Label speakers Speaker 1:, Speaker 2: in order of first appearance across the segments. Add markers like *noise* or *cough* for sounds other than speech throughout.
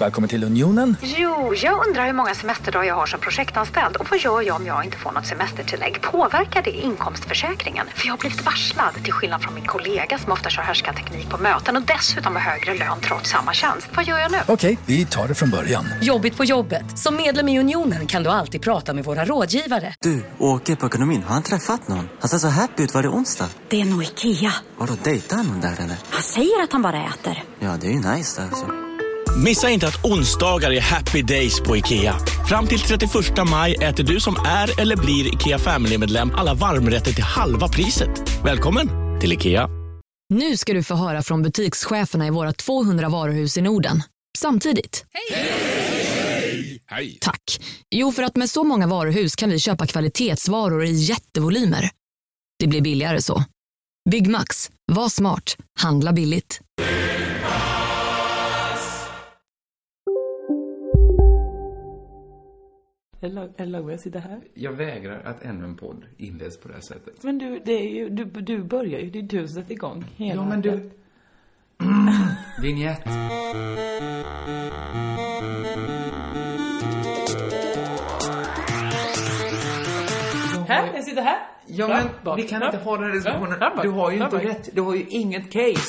Speaker 1: Välkommen till Unionen.
Speaker 2: Jo, jag undrar hur många semesterdagar jag har som projektanställd och vad gör jag om jag inte får något semestertillägg? Påverkar det inkomstförsäkringen? För jag har blivit varslad, till skillnad från min kollega som ofta kör teknik på möten och dessutom har högre lön trots samma tjänst. Vad gör jag nu?
Speaker 1: Okej, vi tar det från början.
Speaker 3: Jobbigt på jobbet. Som medlem i Unionen kan du alltid prata med våra rådgivare.
Speaker 4: Du, åker på ekonomin. Har han träffat någon? Han ser så happy ut. Var det onsdag?
Speaker 5: Det är nog Ikea.
Speaker 4: Har du dejtar han någon där eller?
Speaker 5: Han säger att han bara äter.
Speaker 4: Ja, det är ju nice där. Alltså.
Speaker 6: Missa inte att onsdagar är happy days på IKEA. Fram till 31 maj äter du som är eller blir IKEA Family-medlem alla varmrätter till halva priset. Välkommen till IKEA.
Speaker 7: Nu ska du få höra från butikscheferna i våra 200 varuhus i Norden. Samtidigt. Hej! Hej! Tack. Jo, för att med så många varuhus kan vi köpa kvalitetsvaror i jättevolymer. Det blir billigare så. Byggmax. Var smart. Handla billigt.
Speaker 8: Är lag- är det lagmässigt det här?
Speaker 9: Jag vägrar att ännu en podd inleds på det här sättet.
Speaker 8: Men du, det är ju, du, du börjar ju, det är du som sätter igång hela
Speaker 9: Ja, men du... *clears throat* Vignett.
Speaker 8: Här, jag sitter här.
Speaker 9: Ja,
Speaker 8: Bra,
Speaker 9: men
Speaker 8: bra,
Speaker 9: vi kan
Speaker 8: bra.
Speaker 9: inte ha den här diskussionen.
Speaker 8: Bra, bra,
Speaker 9: Du har ju inte
Speaker 8: bra, bra.
Speaker 9: rätt. Du har ju inget case.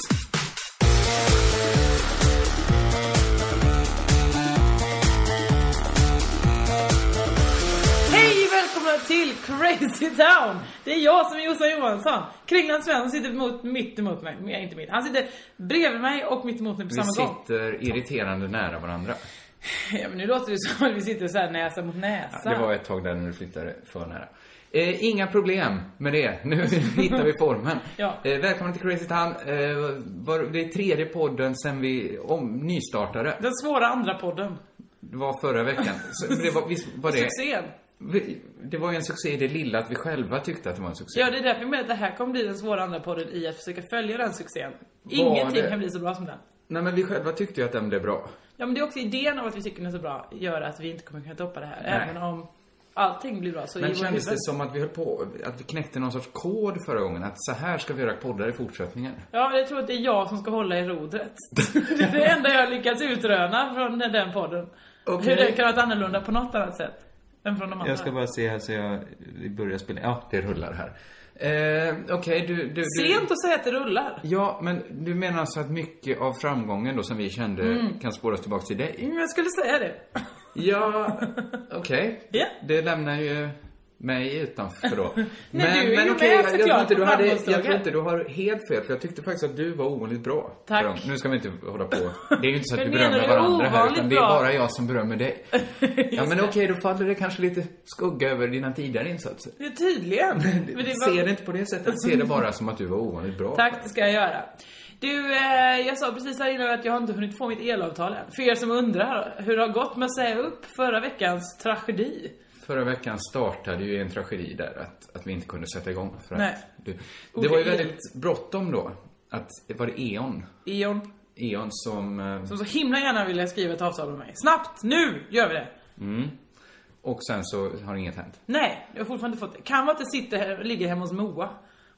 Speaker 8: Hej välkomna till Crazy Town! Det är jag som är Jossan Johansson. Kringland Svensson sitter mot, mitt emot mig, men jag är inte mitt. Han sitter bredvid mig och mitt emot mig på
Speaker 9: Vi
Speaker 8: samma gång.
Speaker 9: sitter irriterande nära varandra.
Speaker 8: *laughs* Ja, men nu låter det som att vi sitter så här näsa mot näsa.
Speaker 9: Det var ett tag där när du flyttade för nära. Eh, inga problem med det. Nu *laughs* hittar vi formen.
Speaker 8: Ja.
Speaker 9: eh, välkommen till Crazy Town. Eh, var, det är tredje podden sen vi om, nystartade.
Speaker 8: Den svåra andra podden.
Speaker 9: Det var förra veckan. Så, men det var, visst var det...
Speaker 8: Succén.
Speaker 9: Vi- Det var ju en succé i det lilla att vi själva tyckte att det var en succé.
Speaker 8: Ja, det är därför jag menar att det här kommer bli den svåra andra podden i att försöka följa den succén.
Speaker 9: det?
Speaker 8: Ingenting kan bli så bra som den.
Speaker 9: Nej men vi själva tyckte ju att den blev bra.
Speaker 8: Ja men det är också idén om att vi tycker den är så bra gör att vi inte kommer kunna toppa det här.
Speaker 9: Nej.
Speaker 8: Även om allting blir bra så i
Speaker 9: Men
Speaker 8: vår
Speaker 9: kändes det
Speaker 8: huvud-
Speaker 9: som att vi höll på, att vi knäckte någon sorts kod förra gången? Att så här ska vi göra poddar i fortsättningen?
Speaker 8: Ja, jag tror att det är jag som ska hålla i rodret. *laughs* det är det enda jag har lyckats utröna från den- den podden.
Speaker 9: Okej.
Speaker 8: Hur den kan ha varit annorlunda på något annat sätt. Än från de andra.
Speaker 9: Jag ska bara se här så jag, vi börjar spela. Ja, det rullar här. Eh, Okej, du, du, du...
Speaker 8: Sent att säga att det rullar.
Speaker 9: Ja, men du menar alltså att mycket av framgången då som vi kände
Speaker 8: Mm.
Speaker 9: kan spåras tillbaka till dig?
Speaker 8: Men jag skulle säga det.
Speaker 9: Ja, okej.
Speaker 8: *laughs* Ja.
Speaker 9: Det lämnar ju mig utanför
Speaker 8: *laughs*
Speaker 9: då. Men,
Speaker 8: du är ju
Speaker 9: okej,
Speaker 8: med
Speaker 9: jag, jag,
Speaker 8: såklart
Speaker 9: tror inte
Speaker 8: på
Speaker 9: du hade, jag
Speaker 8: framgångsdagar.
Speaker 9: tror inte du har helt fel, för jag tyckte faktiskt att du var ovanligt bra.
Speaker 8: Tack.
Speaker 9: För dem. Nu ska vi inte hålla på. Det är ju inte så att
Speaker 8: *laughs*
Speaker 9: vi
Speaker 8: Men menar
Speaker 9: berömmer
Speaker 8: du
Speaker 9: varandra här, utan
Speaker 8: ovanligt
Speaker 9: det är
Speaker 8: bra?
Speaker 9: bara jag som berömmer
Speaker 8: *laughs*
Speaker 9: dig. ja, men okej, då faller det kanske lite skugga över dina tidigare insatser.
Speaker 8: Det är tydligen. Men det var-
Speaker 9: Se det inte på det sättet, se det bara som att du var ovanligt bra.
Speaker 8: Tack, det ska jag göra. Du, eh, jag sa precis här innan att jag har inte hunnit få mitt elavtal än. För er som undrar hur det har gått med att säga upp förra veckans tragedi.
Speaker 9: Förra veckan startade ju en tragedi där, att, att vi inte kunde sätta igång. För att
Speaker 8: Nej.
Speaker 9: du, det
Speaker 8: Ordet
Speaker 9: var ju
Speaker 8: el.
Speaker 9: väldigt bråttom då. Att, var det E.ON?
Speaker 8: Eon,
Speaker 9: E.ON som... eh,
Speaker 8: som så himla gärna ville skriva ett avtal med mig. Snabbt, nu gör vi det!
Speaker 9: Och sen så har inget hänt.
Speaker 8: Nej, jag har fortfarande inte fått det. Kan vara att det sitter här, ligger hemma hos Moa.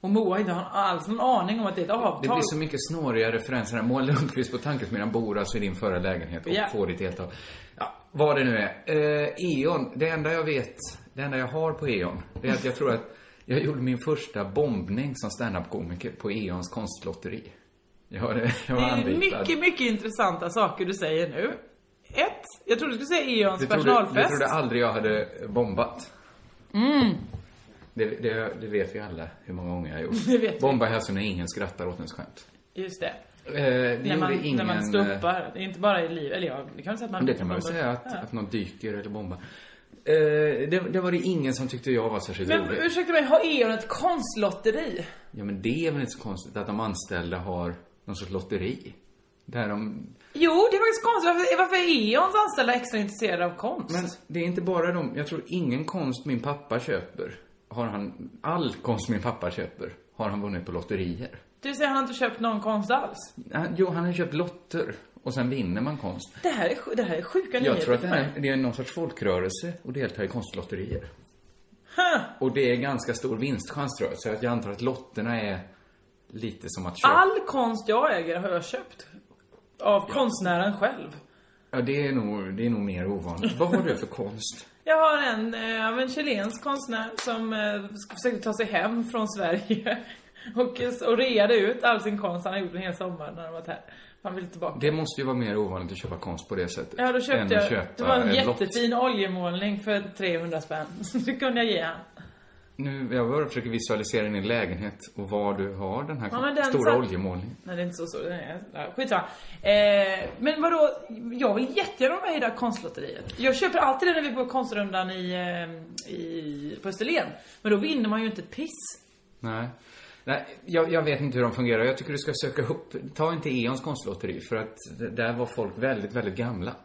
Speaker 8: Och Moa inte har alls någon aning om att det är ett avtal.
Speaker 9: Det blir så mycket snåriga referenser här. Moa Lundqvist på Tankesmedjan bor alltså i din förra lägenhet och
Speaker 8: Ja.
Speaker 9: får ditt eltal. Ja, vad det nu är. Eh, E.ON, det enda jag vet, det enda jag har på E.ON, det är att jag tror att jag gjorde min första bombning som standup-komiker på E.ONs konstlotteri. Jag, var- jag var
Speaker 8: det är
Speaker 9: anlitad.
Speaker 8: mycket, mycket intressanta saker du säger nu. Ett, jag trodde du skulle säga Eons
Speaker 9: Du trodde, du
Speaker 8: personalfest.
Speaker 9: trodde aldrig jag hade bombat. Mm. Det, det, det vet vi alla hur många gånger jag har gjort.
Speaker 8: *laughs* Det vet vi.
Speaker 9: Bomba är alltså när ingen skrattar åt ens skämt.
Speaker 8: Just det.
Speaker 9: Eh, det
Speaker 8: när man,
Speaker 9: gjorde ingen...
Speaker 8: när man
Speaker 9: eh,
Speaker 8: stumpar. Det är inte bara i livet. Eller ja, det kan man säga att man...
Speaker 9: Men det kan man väl säga, att,
Speaker 8: Ja.
Speaker 9: att någon dyker eller bombar. Eh, det, det var det ingen som tyckte jag var särskilt
Speaker 8: Men
Speaker 9: rolig.
Speaker 8: ursäkta mig, har Eon ett konstlotteri?
Speaker 9: Ja, men det är väl inte så konstigt att de anställda har någon sorts lotteri. Där de...
Speaker 8: Jo, det är faktiskt konstigt. Varför, varför är Eons anställda extra intresserade av konst?
Speaker 9: Men det är inte bara de. Jag tror ingen konst min pappa köper har han... All konst min pappa köper har han vunnit på lotterier.
Speaker 8: Du säger han har inte köpt någon konst alls?
Speaker 9: Han, jo, han har köpt lotter och sen vinner man konst.
Speaker 8: Det här är, sj- det här är sjuka
Speaker 9: Jag tror att
Speaker 8: för
Speaker 9: det,
Speaker 8: mig.
Speaker 9: här, det är någon sorts folkrörelse och delta i konstlotterier. Och det är ganska stor vinstchans tror jag, så att jag antar att lotterna är lite som att köpa...
Speaker 8: All konst jag äger har jag köpt. Av konstnären själv.
Speaker 9: Ja, det är nog, det är nog mer ovanligt. Vad har du för konst?
Speaker 8: Jag har en eh, av en chilensk konstnär som eh, ska- försökte ta sig hem från Sverige. *laughs* Och, och reade ut all sin konst. Han har gjort en hel sommar när han varit här. Han vill tillbaka.
Speaker 9: Det måste ju vara mer ovanligt att köpa konst på det sättet.
Speaker 8: Ja, då
Speaker 9: än
Speaker 8: köpte
Speaker 9: att
Speaker 8: jag.
Speaker 9: köpa
Speaker 8: Det var en
Speaker 9: ett lott.
Speaker 8: jättefin oljemålning för 300 spänn. *laughs* Så det kunde jag ge han.
Speaker 9: Nu, jag bara försöker visualisera din lägenhet och var du har den här
Speaker 8: Ja, men den
Speaker 9: stora
Speaker 8: satt-
Speaker 9: oljemålningen.
Speaker 8: Nej, det är inte så stor. Den är- ja, Skitsamma. Eh, men vadå? Jag vill jättegärna vara med i det här konstlotteriet. Jag köper alltid det när vi går konstrundan i, eh, i, på Österlen. Men då vinner man ju inte ett piss.
Speaker 9: Nej. Nej, jag, jag vet inte hur de fungerar. Jag tycker du ska söka upp, ta inte Eons konstlotteri för att d- där var folk väldigt, väldigt gamla.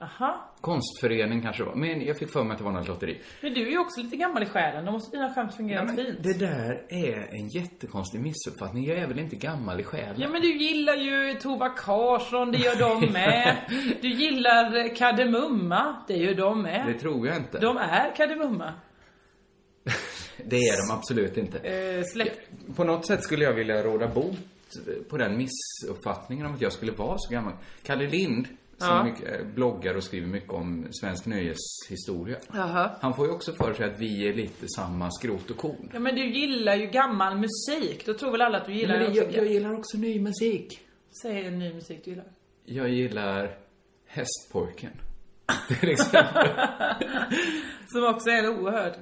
Speaker 8: Aha.
Speaker 9: Konstförening kanske det var, men jag fick för mig att det var något lotteri.
Speaker 8: Men du är ju också lite gammal i själen. Då måste dina skämt fungera
Speaker 9: Men
Speaker 8: fint.
Speaker 9: det där är en jättekonstig missuppfattning. Jag är väl inte gammal i själen?
Speaker 8: Ja men du gillar ju Tova Karlsson, det gör de med. Du gillar eh, Kardemumma, det gör de med.
Speaker 9: Det tror jag inte.
Speaker 8: De är Kardemumma.
Speaker 9: Det är de absolut inte.
Speaker 8: Eh, släkt.
Speaker 9: På något sätt skulle jag vilja råda bot på den missuppfattningen om att jag skulle vara så gammal. Kalle Lind, som
Speaker 8: Ja.
Speaker 9: mycket, eh, bloggar och skriver mycket om svensk nöjeshistoria.
Speaker 8: Jaha.
Speaker 9: Han får ju också för sig att vi är lite samma skrot och korn.
Speaker 8: Ja men du gillar ju gammal musik. Då tror väl alla att du gillar
Speaker 9: Men
Speaker 8: det
Speaker 9: jag,
Speaker 8: också.
Speaker 9: jag gillar också ny musik.
Speaker 8: Säg en ny musik du gillar. *laughs*
Speaker 9: Jag gillar Hästpojken. *laughs* liksom- Till exempel.
Speaker 8: Som också är en oerhörd,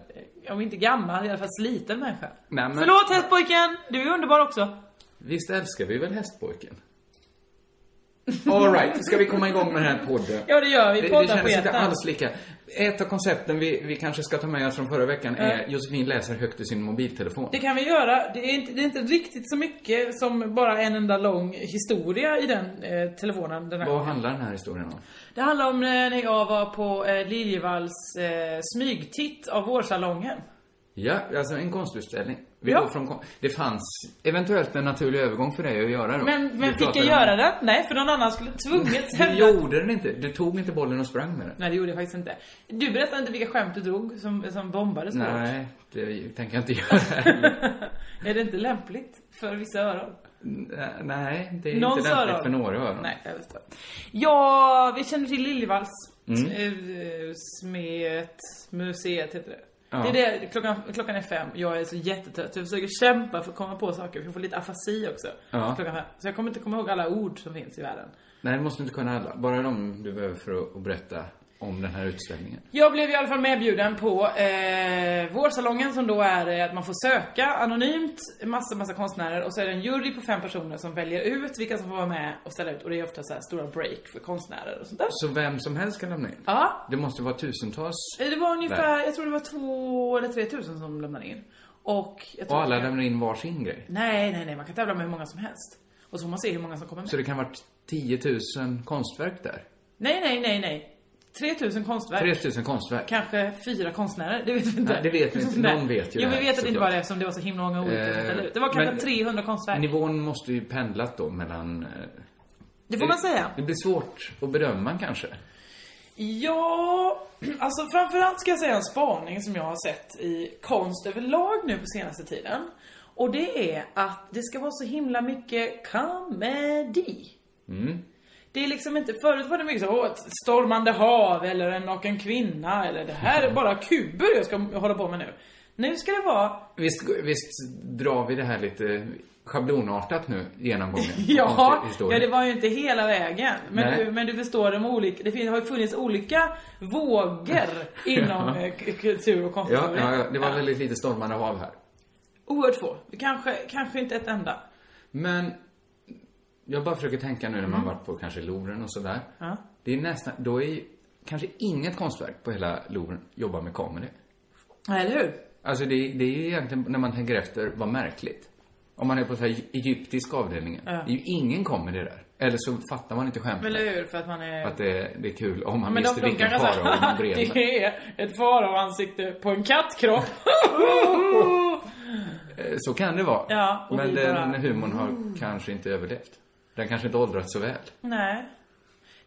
Speaker 8: eh, om inte gammal, i alla fall sliten människa.
Speaker 9: Nej, men-
Speaker 8: Förlåt hästpojken! Du är underbar också.
Speaker 9: Visst älskar vi väl
Speaker 8: *laughs*
Speaker 9: Hästpojken? Alright, ska vi komma igång med den här podden?
Speaker 8: Ja, det gör vi.
Speaker 9: Det,
Speaker 8: Poddar
Speaker 9: det
Speaker 8: på
Speaker 9: kändes inte
Speaker 8: ettan.
Speaker 9: alls lika. Ett av koncepten vi, vi kanske ska ta med oss från förra veckan är Josefin läser högt i sin mobiltelefon.
Speaker 8: Det kan vi göra. Det är, inte, det är inte riktigt så mycket som bara en enda lång historia i den eh, telefonen. Den här.
Speaker 9: Vad handlar den här historien om?
Speaker 8: Det handlar om eh, när jag var på eh, Liljevalchs eh, smygtitt av vårsalongen.
Speaker 9: Ja, alltså en konstutställning. Vi
Speaker 8: Ja.
Speaker 9: går från kon- det fanns eventuellt en naturlig övergång för dig att göra då.
Speaker 8: Men,
Speaker 9: Vi
Speaker 8: men fick jag
Speaker 9: pratade
Speaker 8: göra
Speaker 9: om-
Speaker 8: den? Nej, för någon annan skulle tvunget
Speaker 9: Du
Speaker 8: hävda
Speaker 9: gjorde den inte. Du tog inte bollen och sprang med den.
Speaker 8: Nej, det gjorde jag faktiskt inte. Du berättade inte vilka skämt du drog som, som bombades hårt.
Speaker 9: Nej, det tänker jag inte göra.
Speaker 8: *laughs*
Speaker 9: *laughs*
Speaker 8: Är det inte lämpligt för vissa öron?
Speaker 9: Nej, det är
Speaker 8: Någons
Speaker 9: inte lämpligt
Speaker 8: öron?
Speaker 9: för några öron.
Speaker 8: Nej, jag förstår. Ja, vi känner till Liljevalchs. Mm. Smet, museet heter det.
Speaker 9: Ja.
Speaker 8: Det är det, klockan, klockan är fem, jag är så jättetrött. så Jag försöker kämpa för att komma på saker, för jag får lite afasi också.
Speaker 9: Ja.
Speaker 8: Klockan fem. Så jag kommer inte komma ihåg alla ord som finns i världen.
Speaker 9: Nej, det måste du inte kunna alla. Bara de du behöver för att- att berätta om den här utställningen.
Speaker 8: Jag blev i alla fall medbjuden på eh, vårsalongen som då är eh, att man får söka anonymt massa, massa konstnärer och så är det en jury på fem personer som väljer ut vilka som får vara med och ställa ut och det är ofta så här stora break för konstnärer och sånt där.
Speaker 9: Så vem som helst kan lämna in?
Speaker 8: Ja.
Speaker 9: Det måste vara tusentals.
Speaker 8: Eh, Det var ungefär, jag tror det var två eller tre tusen som lämnade in. Och jag tror
Speaker 9: Och alla lämnar in varsin grej.
Speaker 8: Nej, nej, nej, man kan tävla med hur många som helst. Och så får man se hur många som kommer med.
Speaker 9: Så det kan vara 10 000 konstverk där.
Speaker 8: Nej, nej, nej, nej. 3000 konstverk.
Speaker 9: 3 000 konstverk.
Speaker 8: Kanske fyra konstnärer, det vet vi inte.
Speaker 9: Nej, det vet vi inte.
Speaker 8: Nej.
Speaker 9: Någon vet ju
Speaker 8: Jo,
Speaker 9: det
Speaker 8: vi
Speaker 9: här,
Speaker 8: vet att det inte
Speaker 9: såklart.
Speaker 8: var det eftersom det var så himla många olika som
Speaker 9: Eh,
Speaker 8: ställde ut. Det var kanske
Speaker 9: men-
Speaker 8: 300 konstverk.
Speaker 9: Nivån måste ju pendlat då mellan... eh,
Speaker 8: Det får man säga.
Speaker 9: Det blir svårt att bedöma kanske.
Speaker 8: Ja, alltså framförallt ska jag säga en spaning som jag har sett i konst överlag nu på senaste tiden. Och det är att det ska vara så himla mycket komedi. Det är liksom inte, förut var det mycket så åh, ett stormande hav eller en naken kvinna eller det här är bara kuber jag ska hålla på med nu. Nu ska det vara
Speaker 9: Visst, visst drar vi det här lite schablonartat nu,
Speaker 8: *laughs*
Speaker 9: genomgången?
Speaker 8: Ja, ja,
Speaker 9: Konsthistorien.
Speaker 8: det var ju inte hela vägen. Men,
Speaker 9: Nej.
Speaker 8: du, men du förstår, de olika, det fin- har ju funnits olika
Speaker 9: *laughs*
Speaker 8: vågor inom eh, k- kultur och
Speaker 9: ja,
Speaker 8: konsthistoria.
Speaker 9: ja, ja, det var väldigt lite stormande hav här.
Speaker 8: Oerhört få. Kanske, kanske inte ett enda.
Speaker 9: Men jag bara försöker tänka nu när man varit på kanske Louvren och sådär.
Speaker 8: Mm. Ja.
Speaker 9: Det är nästan, då är ju kanske inget konstverk på hela Louvren jobbar med comedy.
Speaker 8: Nej, eller hur?
Speaker 9: Alltså det, det är ju egentligen, när man tänker efter, vad märkligt. Om man är på så här egyptisk avdelningen. Det är ju ingen comedy där. Eller så fattar man inte skämtet.
Speaker 8: Eller hur? För att man är...
Speaker 9: Att det, det är kul om man
Speaker 8: men de
Speaker 9: visste vilken
Speaker 8: funkar
Speaker 9: farao
Speaker 8: *laughs*
Speaker 9: man
Speaker 8: alltså.
Speaker 9: bred med.
Speaker 8: Det är ett faraoansikte på
Speaker 9: *laughs*
Speaker 8: en kattkropp.
Speaker 9: Eh, Så kan det vara.
Speaker 8: Ja, och
Speaker 9: Men
Speaker 8: vi
Speaker 9: den
Speaker 8: bara- Mm.
Speaker 9: humorn har kanske inte överlevt. Den kanske inte åldrats så väl.
Speaker 8: Nej.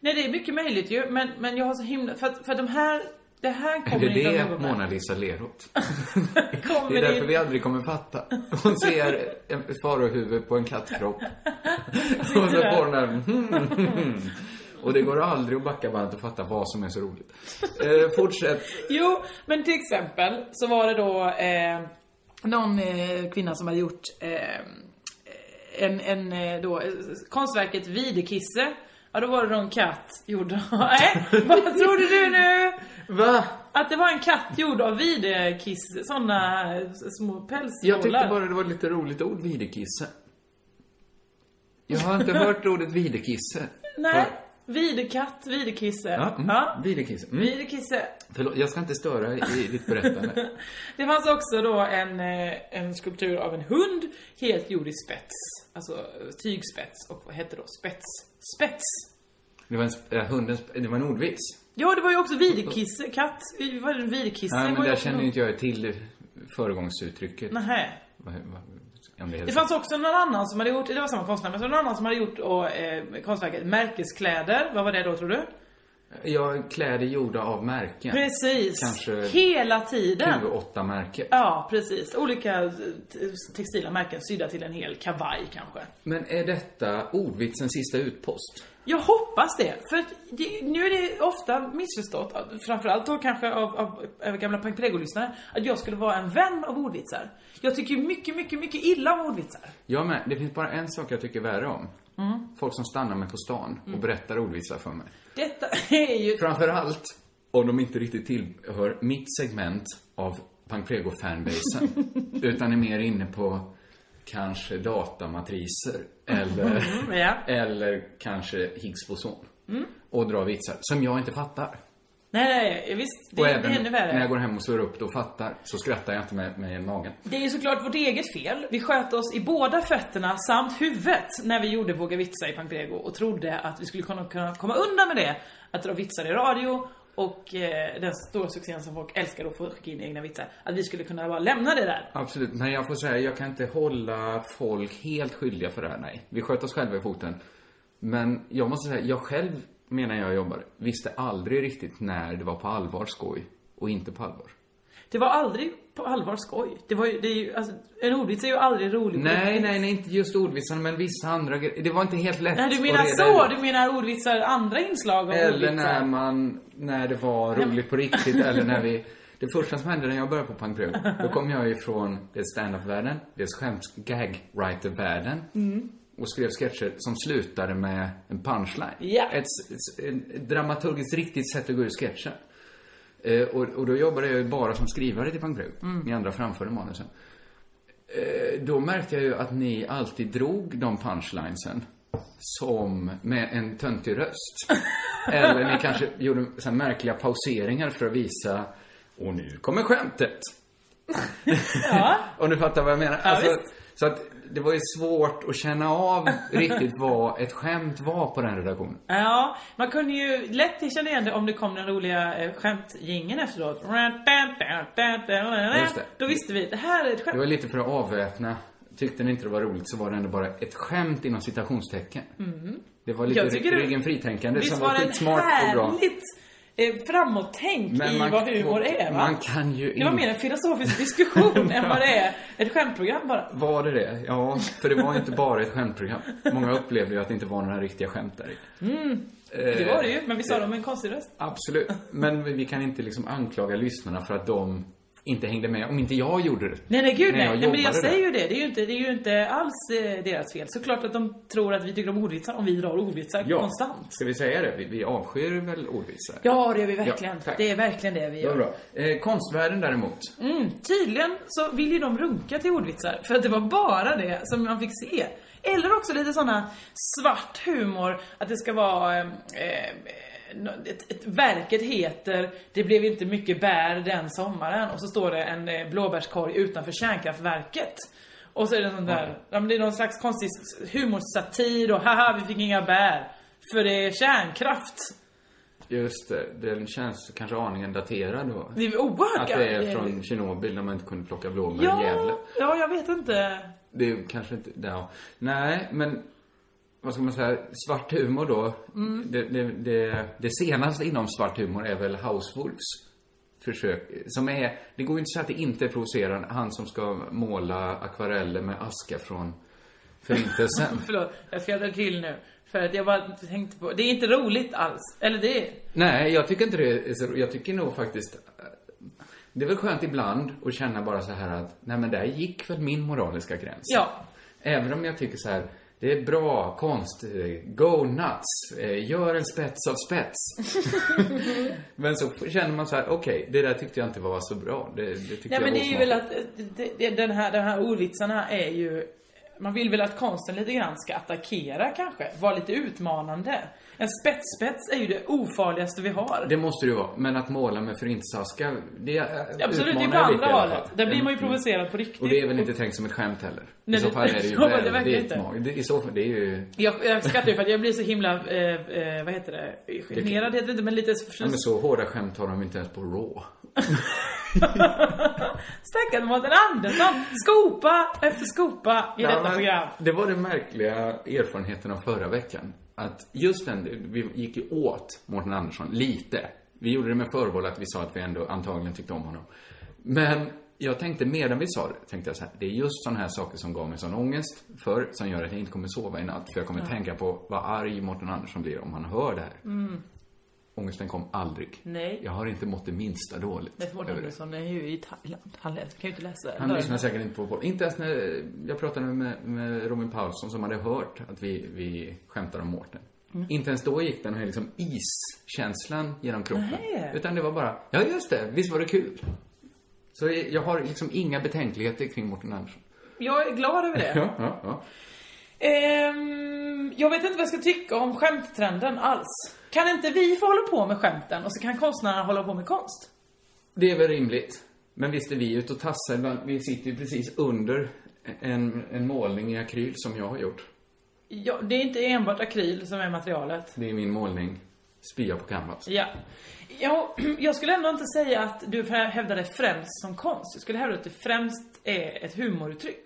Speaker 8: Nej, det är mycket möjligt ju. Men, men jag har så himla... För att, för att de här... Det här
Speaker 9: Är
Speaker 8: kommer
Speaker 9: det
Speaker 8: inte
Speaker 9: det
Speaker 8: att jobba med.
Speaker 9: Mona Lisa ler åt? Det
Speaker 8: *laughs* Kommer
Speaker 9: är
Speaker 8: det-
Speaker 9: därför vi aldrig kommer fatta. Hon ser en-
Speaker 8: *laughs*
Speaker 9: ett farohuvud på en kattkropp. Och så
Speaker 8: där.
Speaker 9: får hon den. hmm. Och det går aldrig att backa bandet och fatta vad som är så roligt. Eh, fortsätt.
Speaker 8: Jo, men till exempel så var det då eh, någon eh, kvinna som hade gjort eh, en, en eh, då, eh, konstverket Videkisse. Ja, då var det då en katt gjord av... *laughs* Nej, vad trodde du nu?
Speaker 9: Va?
Speaker 8: Att det var en katt gjord av videkisse, såna eh, små pälsnålar.
Speaker 9: Jag tyckte bara det var ett lite roligt ord, videkisse. Jag har inte hört ordet videkisse.
Speaker 8: Nej, videkatt, videkisse.
Speaker 9: Ja, mm,
Speaker 8: ja.
Speaker 9: Videkisse. Mm.
Speaker 8: Videkisse.
Speaker 9: Förlåt, jag ska inte störa i ditt berättande.
Speaker 8: Det fanns också då en, eh, en skulptur av en hund helt gjord i spets. Alltså eh, tygspets och vad hette då spets? Spets!
Speaker 9: Det var en, sp- eh, hundens, det var en ordvits.
Speaker 8: Ja, det var ju också videkisse, katt. Det Var det en videkisse?
Speaker 9: Nej, men
Speaker 8: var ju
Speaker 9: där
Speaker 8: också
Speaker 9: känner
Speaker 8: någon-
Speaker 9: ju inte jag till föregångsuttrycket.
Speaker 8: Nähä.
Speaker 9: Vad- vad- om det
Speaker 8: Det
Speaker 9: heter så.
Speaker 8: fanns också någon annan som hade gjort, det var samma konstnär, men så var det någon annan som hade gjort och, eh, konstverket Märkeskläder. Vad var det då tror du?
Speaker 9: Ja, kläder gjorda av märken.
Speaker 8: Precis!
Speaker 9: Kanske
Speaker 8: Hela tiden!
Speaker 9: 28 märken.
Speaker 8: Ja, precis. Olika eh, t- textila märken sydda till en hel kavaj kanske.
Speaker 9: Men är detta ordvitsens sista utpost?
Speaker 8: Jag hoppas det, för att det, nu är det ofta missförstått, framförallt då kanske av, av, av gamla Pank-Prego-lyssnare, att jag skulle vara en vän av ordvitsar. Jag tycker ju mycket, mycket, mycket illa om ordvitsar.
Speaker 9: Jag med. Det finns bara en sak jag tycker värre om.
Speaker 8: Mm.
Speaker 9: Folk som stannar mig på stan och berättar ordvitsar för mig.
Speaker 8: Detta *laughs* är ju...
Speaker 9: Framförallt om de inte riktigt tillhör mitt segment av Pankrego fanbasen
Speaker 8: *laughs*
Speaker 9: utan är mer inne på kanske datamatriser eller,
Speaker 8: *laughs* ja. Mm.
Speaker 9: eller kanske Higgs boson. Och drar vitsar som jag inte fattar.
Speaker 8: Nej, nej, visst. Det,
Speaker 9: och
Speaker 8: det
Speaker 9: även
Speaker 8: är ännu
Speaker 9: när jag
Speaker 8: värre.
Speaker 9: går hem och surrar upp det och fattar så skrattar jag inte med, med magen.
Speaker 8: Det är ju såklart vårt eget fel. Vi sköt oss i båda fötterna samt huvudet när vi gjorde Våga vitsa i Pank-Prego och trodde att vi skulle kunna, kunna komma undan med det, att dra vitsar i radio och eh, den stora succén som folk älskar att få skicka in egna vitsar, att vi skulle kunna bara lämna det där.
Speaker 9: Absolut, men jag får säga, jag kan inte hålla folk helt skyldiga för det här, nej. Vi sköt oss själva i foten. Men jag måste säga, jag själv, medan jag jobbade, visste aldrig riktigt när det var på allvar skoj och inte på allvar.
Speaker 8: Det var aldrig på allvar skoj. Det var ju, det är ju, alltså, en ordvits är ju aldrig rolig.
Speaker 9: Nej, nej, nej, inte just ordvitsarna, men vissa andra grejer. Det var inte helt lätt
Speaker 8: Nej, du
Speaker 9: att
Speaker 8: menar
Speaker 9: reda
Speaker 8: så?
Speaker 9: ut.
Speaker 8: Du menar ordvitsar, andra inslag av
Speaker 9: Eller
Speaker 8: ordvitsar?
Speaker 9: när man, när det var roligt på riktigt eller när vi det första som hände när jag började på Pankrug, då kom jag ifrån dels standup-världen, dels skämt gag writer-världen. Och skrev sketcher som slutade med en punchline.
Speaker 8: Ja.
Speaker 9: Ett, s- s- en- ett dramaturgiskt riktigt sätt att gå ur sketchen. Eh, och, och då jobbade jag ju bara som skrivare till Pankrug. Ni andra framförde manusen. Eh, då märkte jag ju att ni alltid drog de punchlinesen som med en töntig röst. Eller ni kanske gjorde så här märkliga pauseringar för att visa Och nu kommer skämtet.
Speaker 8: Ja.
Speaker 9: Om du fattar vad jag menar. alltså,
Speaker 8: visst.
Speaker 9: så att det var ju svårt att känna av riktigt vad ett skämt var på den redaktionen.
Speaker 8: Ja, man kunde ju lätt känna igen det om det kom den roliga eh, skämtjingeln efteråt.
Speaker 9: just det.
Speaker 8: Då visste vi, det här är ett
Speaker 9: Det var
Speaker 8: skämt.
Speaker 9: lite för att avväpna. Tyckte ni inte det var roligt så var det ändå bara ett skämt inom citationstecken. Det var lite
Speaker 8: Mm. Jag tycker det-
Speaker 9: ryggen fritänkandet
Speaker 8: Visst
Speaker 9: som
Speaker 8: var
Speaker 9: var
Speaker 8: det
Speaker 9: skitsmart och bra.
Speaker 8: härligt eh, framåttänk i vad humor är va?
Speaker 9: man kan ju
Speaker 8: det var mer en filosofisk diskussion *laughs* än vad det är ett skämtprogram bara.
Speaker 9: Var det det? Ja, för det var ju inte bara ett skämtprogram. Många upplevde ju att det inte var några riktiga skämt där i.
Speaker 8: Det
Speaker 9: Eh,
Speaker 8: var det ju, men vi sa det med en konstig röst.
Speaker 9: Absolut. Men vi vi kan inte liksom anklaga lyssnarna för att de inte hängde med om inte jag gjorde det.
Speaker 8: Nej, nej gud
Speaker 9: När
Speaker 8: nej.
Speaker 9: jag
Speaker 8: nej men jag
Speaker 9: jobbade där.
Speaker 8: säger ju det. Det är ju inte, det är ju inte alls eh, deras fel. Såklart att de tror att vi tycker om ordvitsar om vi drar ordvitsar
Speaker 9: Ja.
Speaker 8: konstant.
Speaker 9: Ska vi säga det? Vi, vi avskyr väl ordvitsar?
Speaker 8: Ja, det är vi verkligen.
Speaker 9: Ja, tack.
Speaker 8: det är verkligen det vi
Speaker 9: Det var
Speaker 8: gör.
Speaker 9: bra. Eh, konstvärlden däremot.
Speaker 8: Mm, tydligen så vill ju de runka till ordvitsar, för att det var bara det som man fick se. Eller också lite såna svart humor, att det ska vara... Eh, eh, nå- ett, ett, verket heter Det blev inte mycket bär den sommaren och så står det en eh, blåbärskorg utanför kärnkraftverket. Och så är det sånt där, ja, men det är någon slags konstig s- humorsatir och haha vi fick inga bär. För det är kärnkraft.
Speaker 9: Just det, den känns kanske aningen daterad då.
Speaker 8: Det är oerhört
Speaker 9: Att det är
Speaker 8: gammalt.
Speaker 9: från Tjernobyl när man inte kunde plocka blommor i Gävle.
Speaker 8: ja, ja, jag vet inte.
Speaker 9: Det är kanske inte... Ja. Nej, men... Vad ska man säga? Svart humor då.
Speaker 8: Mm.
Speaker 9: Det, det, det, det senaste inom svart humor är väl Housefolks försök. Som är... Det går ju inte att säga att det inte är provocerande. Han som ska måla akvareller med aska från Förintelsen.
Speaker 8: Förlåt, jag skrattar till nu. För att jag bara tänkte på, det är inte roligt alls. Eller det är...
Speaker 9: Nej, jag tycker inte det. är så- Jag tycker nog faktiskt... eh, Det är väl skönt ibland att känna bara så här att, nej men där gick väl min moraliska gräns.
Speaker 8: Ja.
Speaker 9: Även om jag tycker så här, det är bra konst, eh, go nuts, eh, gör en spets av spets.
Speaker 8: *laughs*
Speaker 9: men så känner man så här, okej, det där tyckte jag inte var så bra. Det, det tyckte
Speaker 8: Nej
Speaker 9: jag
Speaker 8: men
Speaker 9: var
Speaker 8: det är ju
Speaker 9: osmakligt.
Speaker 8: väl att, det, det, den här, de här ordvitsarna är ju man vill väl att konsten lite grann ska attackera kanske, vara lite utmanande. En spetsspets är ju det ofarligaste vi har.
Speaker 9: Det måste det ju vara, men att måla med förintelseaskar, det eh,
Speaker 8: Absolut, det är
Speaker 9: utmanar
Speaker 8: på
Speaker 9: lite
Speaker 8: andra
Speaker 9: i alla fall.
Speaker 8: hållet. Där blir man ju
Speaker 9: Mm.
Speaker 8: provocerad på riktigt.
Speaker 9: Och det är väl inte tänkt som ett skämt heller?
Speaker 8: Nej,
Speaker 9: I så
Speaker 8: det-
Speaker 9: fall är det ju
Speaker 8: *laughs* Ja, det verkar
Speaker 9: väldigt
Speaker 8: inte.
Speaker 9: mag- det- I så fall, det är ju...
Speaker 8: Jag, jag skrattar ju för att jag blir så himla, eh, eh, vad heter det, generad heter det inte men lite
Speaker 9: Ja, men så hårda skämt har de inte ens på Raw.
Speaker 8: Stackars Mårten Andersson! Skopa efter skopa i detta
Speaker 9: Ja, men
Speaker 8: program.
Speaker 9: Det var den märkliga erfarenheten av förra veckan. Att just den, vi gick ju åt Mårten Andersson lite. Vi gjorde det med förbehåll att vi sa att vi ändå antagligen tyckte om honom. Men jag tänkte medan vi sa det, tänkte jag så här, det är just sådana här saker som gav mig sån ångest för som gör att jag inte kommer sova i natt. För jag kommer tänka på vad arg Mårten Andersson blir om han hör det här.
Speaker 8: Mm.
Speaker 9: Ångesten kom aldrig.
Speaker 8: Nej.
Speaker 9: Jag har inte mått det minsta dåligt.
Speaker 8: Men Mårten
Speaker 9: över det.
Speaker 8: Andersson är ju i Thailand. Han lä- kan ju inte läsa.
Speaker 9: Han
Speaker 8: Hör-
Speaker 9: lyssnar säkert inte på vår Inte ens när jag pratade med, med Robin Paulsson som hade hört att vi, vi skämtade om Mårten.
Speaker 8: Mm.
Speaker 9: Inte ens då gick den här liksom iskänslan genom kroppen.
Speaker 8: Nej.
Speaker 9: Utan det var bara, ja just det, visst var det kul. Så jag jag har liksom inga betänkligheter kring Mårten Andersson.
Speaker 8: Jag är glad över det.
Speaker 9: Ja, ja, ja.
Speaker 8: Ehm, jag vet inte vad jag ska tycka om skämttrenden alls. Kan inte vi få hålla på med skämten och så kan konstnärerna hålla på med konst?
Speaker 9: Det är väl rimligt. Men visst är vi ute och tassar. ibland. Vi sitter ju precis under en, en målning i akryl som jag har gjort.
Speaker 8: Ja, det är inte enbart akryl som är materialet.
Speaker 9: Det är min målning, Spya på canvas.
Speaker 8: Ja. *clears throat* Jag, jag skulle ändå inte säga att du hävdar det främst som konst. Jag skulle hävda att det främst är ett humoruttryck.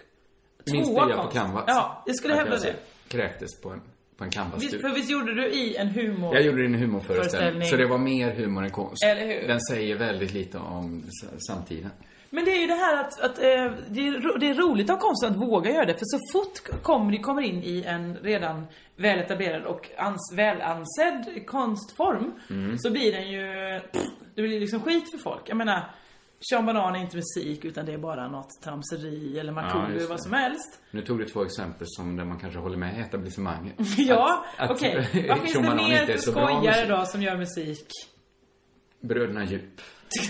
Speaker 9: Min
Speaker 8: Tvåa
Speaker 9: spya på
Speaker 8: konst.
Speaker 9: canvas.
Speaker 8: Ja, jag skulle
Speaker 9: Att
Speaker 8: hävda
Speaker 9: alltså
Speaker 8: det.
Speaker 9: kräktes på en, på en
Speaker 8: Visst,
Speaker 9: canvasduk.
Speaker 8: för visst gjorde du i en humor...
Speaker 9: Jag gjorde det i en humorföreställning.
Speaker 8: Föreställning.
Speaker 9: Så det var mer humor än konst.
Speaker 8: Eller hur?
Speaker 9: Den säger väldigt lite om s- samtiden.
Speaker 8: Men det är ju det här att, att eh, det, är, ro- det är roligt av konsten att våga göra det. För så fort kommer, du kommer in i en redan väletablerad och ans, välansedd konstform
Speaker 9: Mm.
Speaker 8: så blir den ju... Det blir liksom skit för folk. Jag menar, Sean Banan är inte musik utan det är bara något tramseri eller Markoolio
Speaker 9: just
Speaker 8: eller vad
Speaker 9: det.
Speaker 8: som helst. *laughs*
Speaker 9: Nu tog du två exempel som där man kanske håller med etablissemanget.
Speaker 8: Ja,
Speaker 9: Att- att *laughs*
Speaker 8: okej. Vad finns det
Speaker 9: Schumann
Speaker 8: mer
Speaker 9: inte är
Speaker 8: för
Speaker 9: så bra
Speaker 8: skojare
Speaker 9: musik.
Speaker 8: då som gör musik?
Speaker 9: Bröderna Djup.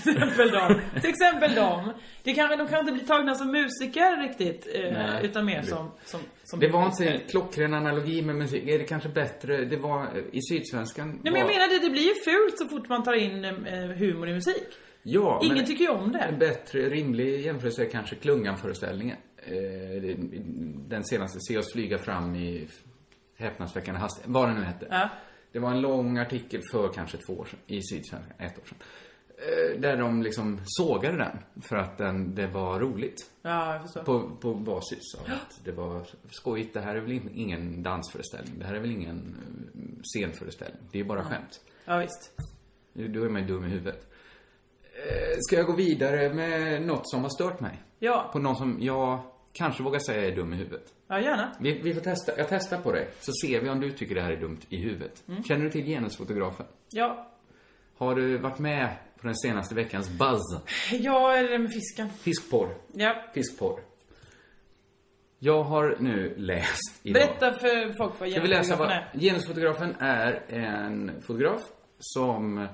Speaker 8: Till exempel dem. Till exempel dem. Det kanske, de kan inte bli tagna som musiker riktigt. Eh,
Speaker 9: Nej.
Speaker 8: utan mer som, som, som
Speaker 9: Det var inte en klockren analogi med musik. Är det kanske bättre? Det var i Sydsvenskan.
Speaker 8: Nej men jag
Speaker 9: var-
Speaker 8: menar det, det blir ju fult så fort man tar in eh, humor i musik.
Speaker 9: Ja,
Speaker 8: Ingen
Speaker 9: men-
Speaker 8: tycker ju om
Speaker 9: En
Speaker 8: det.
Speaker 9: bättre, rimlig jämförelse är kanske Klungan-föreställningen. Eh, det- Den senaste, Se oss flyga fram i häpnadsväckande hastighet, vad den nu hette.
Speaker 8: Ja.
Speaker 9: Det var en lång artikel för kanske två år sedan, i Sydsvenskan, ett år sedan. Eh, Där de liksom sågade den för att den, det var roligt.
Speaker 8: Ja, jag förstår.
Speaker 9: På, på basis av att det var skojigt. Det här är väl in- ingen dansföreställning. Det här är väl ingen eh, scenföreställning. Det är bara skämt.
Speaker 8: Ja, visst.
Speaker 9: Då är man ju dum i huvudet. Eh, Ska jag gå vidare med något som har stört mig?
Speaker 8: Ja.
Speaker 9: På någon som jag kanske vågar säga är dum i huvudet.
Speaker 8: Ja, gärna.
Speaker 9: Vi, vi får testa. Jag testar på dig, så ser vi om du tycker det här är dumt i huvudet. Känner du till genusfotografen?
Speaker 8: Ja.
Speaker 9: Har du varit med på den senaste veckans buzz?
Speaker 8: Ja, är det med fisken?
Speaker 9: Fiskporr.
Speaker 8: Ja.
Speaker 9: Fiskporr. Jag har nu läst idag.
Speaker 8: Berätta för folk vad
Speaker 9: Ska vi läsa
Speaker 8: genusfotografen
Speaker 9: vad...
Speaker 8: är.
Speaker 9: Genusfotografen är en fotograf som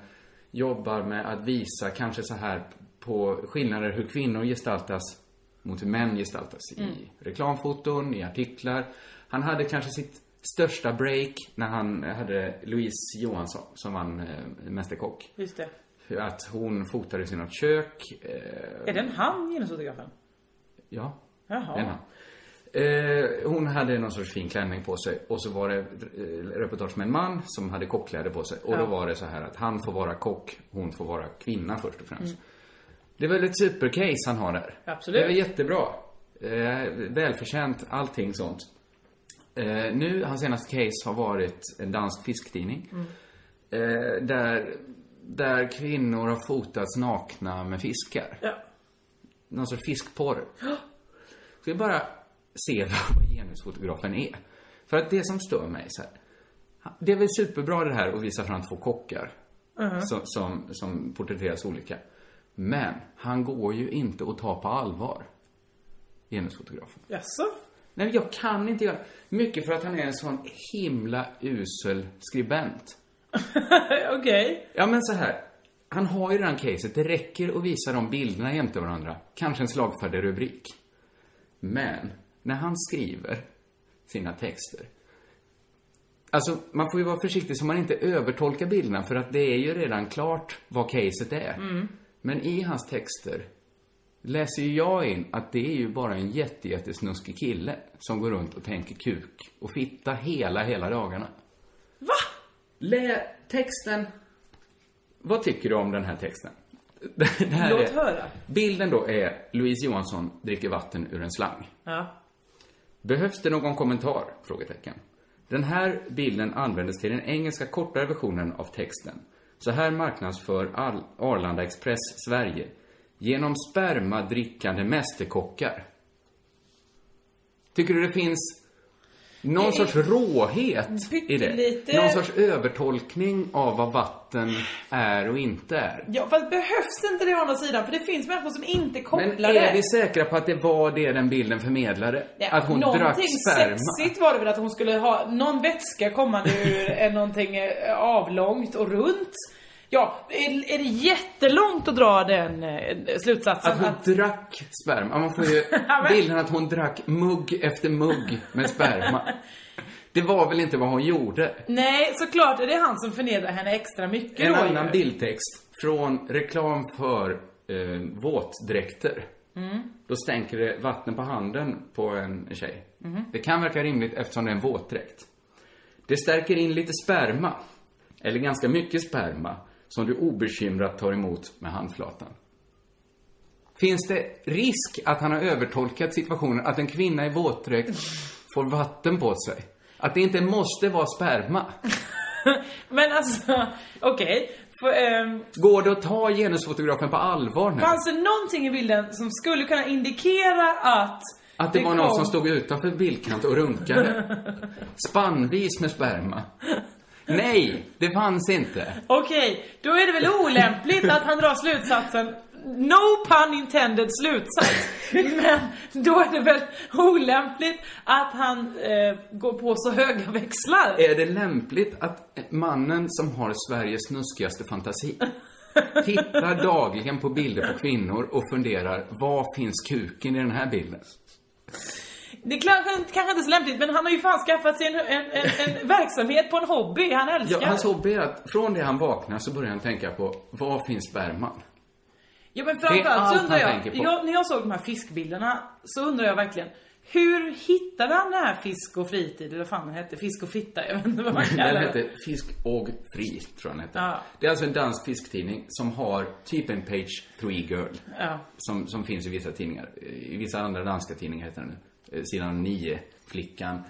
Speaker 9: jobbar med att visa kanske så här på skillnader hur kvinnor gestaltas mot hur män gestaltas i reklamfoton, i artiklar. Han hade kanske sitt största break när han hade Louise Johansson som vann eh, Mästerkock.
Speaker 8: Just det.
Speaker 9: Att hon fotade i något kök. Eh,
Speaker 8: Är den han, genusfotografen?
Speaker 9: ja,
Speaker 8: Jaha.
Speaker 9: en man. Eh, hon hade någon sorts fin klänning på sig och så var det eh, reportage med en man som hade kockkläder på sig. Och då var det så här att han får vara kock, hon får vara kvinna först och främst. Det är väl ett supercase han har där.
Speaker 8: Mm. Absolut.
Speaker 9: Det är väl jättebra. Eh, välförtjänt, allting sånt. Eh, nu, hans senaste case har varit en dansk fisktidning.
Speaker 8: Mm.
Speaker 9: Eh, där, där kvinnor har fotats nakna med fiskar
Speaker 8: Ja.
Speaker 9: någon sorts fiskporr. Så det är bara, se vad genusfotografen är. För att det som stör mig så här, det är väl superbra det här att visa fram två kockar som, som, som porträtteras olika. Men han går ju inte att ta på allvar, genusfotografen.
Speaker 8: Jaså? *laughs*
Speaker 9: Nej, men jag kan inte göra mycket för att han är en sån himla usel skribent.
Speaker 8: Okej.
Speaker 9: Ja, men så här. Han har ju redan caset. Det räcker att visa de bilderna jämte varandra. Kanske en slagfärdig rubrik. Men, när han skriver sina texter. Alltså, man får ju vara försiktig så man inte övertolkar bilderna för att det är ju redan klart vad caset är.
Speaker 8: Mm.
Speaker 9: Men i hans texter läser ju jag in att det är ju bara en jätte, jättesnuskig kille som går runt och tänker kuk och fitta hela, hela dagarna.
Speaker 8: Va?
Speaker 9: Lä texten. Vad tycker du om den här texten? *laughs* Det här
Speaker 8: Låt höra.
Speaker 9: Bilden då är Louise Johansson dricker vatten ur en slang.
Speaker 8: Ja.
Speaker 9: Behövs det någon kommentar? Frågetecken. Den här bilden användes till den engelska kortare versionen av texten. Så här marknadsför Al- Arlanda Express Sverige. Genom spermadrickande mästerkockar. Tycker du det finns någon sorts råhet i det?
Speaker 8: pyttelite-
Speaker 9: Någon sorts övertolkning av vad vatten är och inte är?
Speaker 8: Ja, fast behövs inte det å andra sidan? För det finns människor som inte kopplar
Speaker 9: Men
Speaker 8: det.
Speaker 9: är vi säkra på att det var det den bilden förmedlade?
Speaker 8: Nej,
Speaker 9: att hon drack
Speaker 8: någonting
Speaker 9: sperma?
Speaker 8: sexigt var det väl att hon skulle ha någon vätska kommande
Speaker 9: *laughs*
Speaker 8: ur en någonting eh, avlångt och runt. Ja, är, är det jättelångt att dra den eh, slutsatsen?
Speaker 9: Att hon drack sperma. Man får *laughs* ju
Speaker 8: men-
Speaker 9: bilden att hon drack mugg efter mugg med *laughs* sperma. Det var väl inte vad hon gjorde?
Speaker 8: Nej, såklart är det han som förnedrar henne extra mycket
Speaker 9: En
Speaker 8: då ju.
Speaker 9: annan bildtext från reklam för eh, våtdräkter. Då stänker det vatten på handen på en tjej. Det kan verka rimligt eftersom det är en våtdräkt. Det stärker in lite sperma, eller ganska mycket sperma, som du obekymrat tar emot med handflatan. Finns det risk att han har övertolkat situationen, att en kvinna i våtdräkt får vatten på sig? Att det inte måste vara sperma?
Speaker 8: *laughs* Men alltså, okej. För, ehm,
Speaker 9: Går det att ta genusfotografen på allvar nu?
Speaker 8: Fanns det någonting i bilden som skulle kunna indikera att
Speaker 9: Att det, var
Speaker 8: kom-
Speaker 9: någon som stod utanför bildkant och runkade. Spannvis med sperma. Nej, det fanns inte.
Speaker 8: Okej, då är det väl olämpligt att han drar slutsatsen No pun intended slutsats. Men då är det väl olämpligt att han eh, går på så höga växlar.
Speaker 9: Är det lämpligt att mannen som har Sveriges snuskigaste fantasi Eh, tittar dagligen på bilder på kvinnor och funderar, var finns kuken i den här bilden?
Speaker 8: Det är kanske, inte- kanske inte så lämpligt men han har ju fan skaffat sig en, en, en, en verksamhet på en hobby han älskar.
Speaker 9: Ja, hans hobby är att från det han vaknar så börjar han tänka på, var finns sperman?
Speaker 8: Ja men
Speaker 9: Det är allt
Speaker 8: framförallt så undrar
Speaker 9: han
Speaker 8: jag,
Speaker 9: tänker på.
Speaker 8: jag, när jag såg de här fiskbilderna så undrar jag verkligen hur hittade han det här fisk och fritid, eller vad fan den hette, fisk och fitta, jag vet inte vad man kallar
Speaker 9: Den
Speaker 8: det.
Speaker 9: hette Fisk och Fri, tror jag den hette.
Speaker 8: Ja.
Speaker 9: Det är alltså en dansk fisktidning som har typ en page three girl.
Speaker 8: Ja.
Speaker 9: Som, som finns i vissa tidningar. I vissa andra danska tidningar heter den nu. Eh, Sidan 9, Flickan.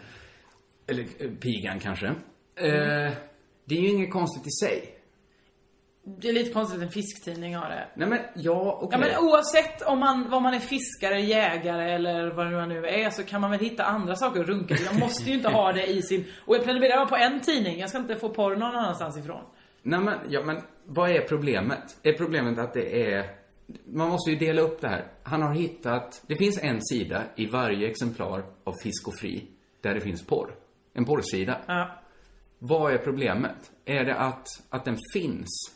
Speaker 9: Eller eh, Pigan kanske.
Speaker 8: Mm.
Speaker 9: Eh, det är ju inget konstigt i sig.
Speaker 8: Det är lite konstigt att en fisktidning har det.
Speaker 9: Nej men, ja, okej.
Speaker 8: Ja men oavsett om man, om man är fiskare, jägare eller vad man nu är så kan man väl hitta andra saker att runka till. Man måste ju inte ha det i sin... Och jag prenumererar bara på en tidning, jag ska inte få porr någon annanstans ifrån.
Speaker 9: Nej men, ja men, vad är problemet? Är problemet att det är... Man måste ju dela upp det här. Han har hittat... Det finns en sida i varje exemplar av Fisk och Fri där det finns porr. En porrsida.
Speaker 8: Ja.
Speaker 9: Vad är problemet? Är det att, att den finns?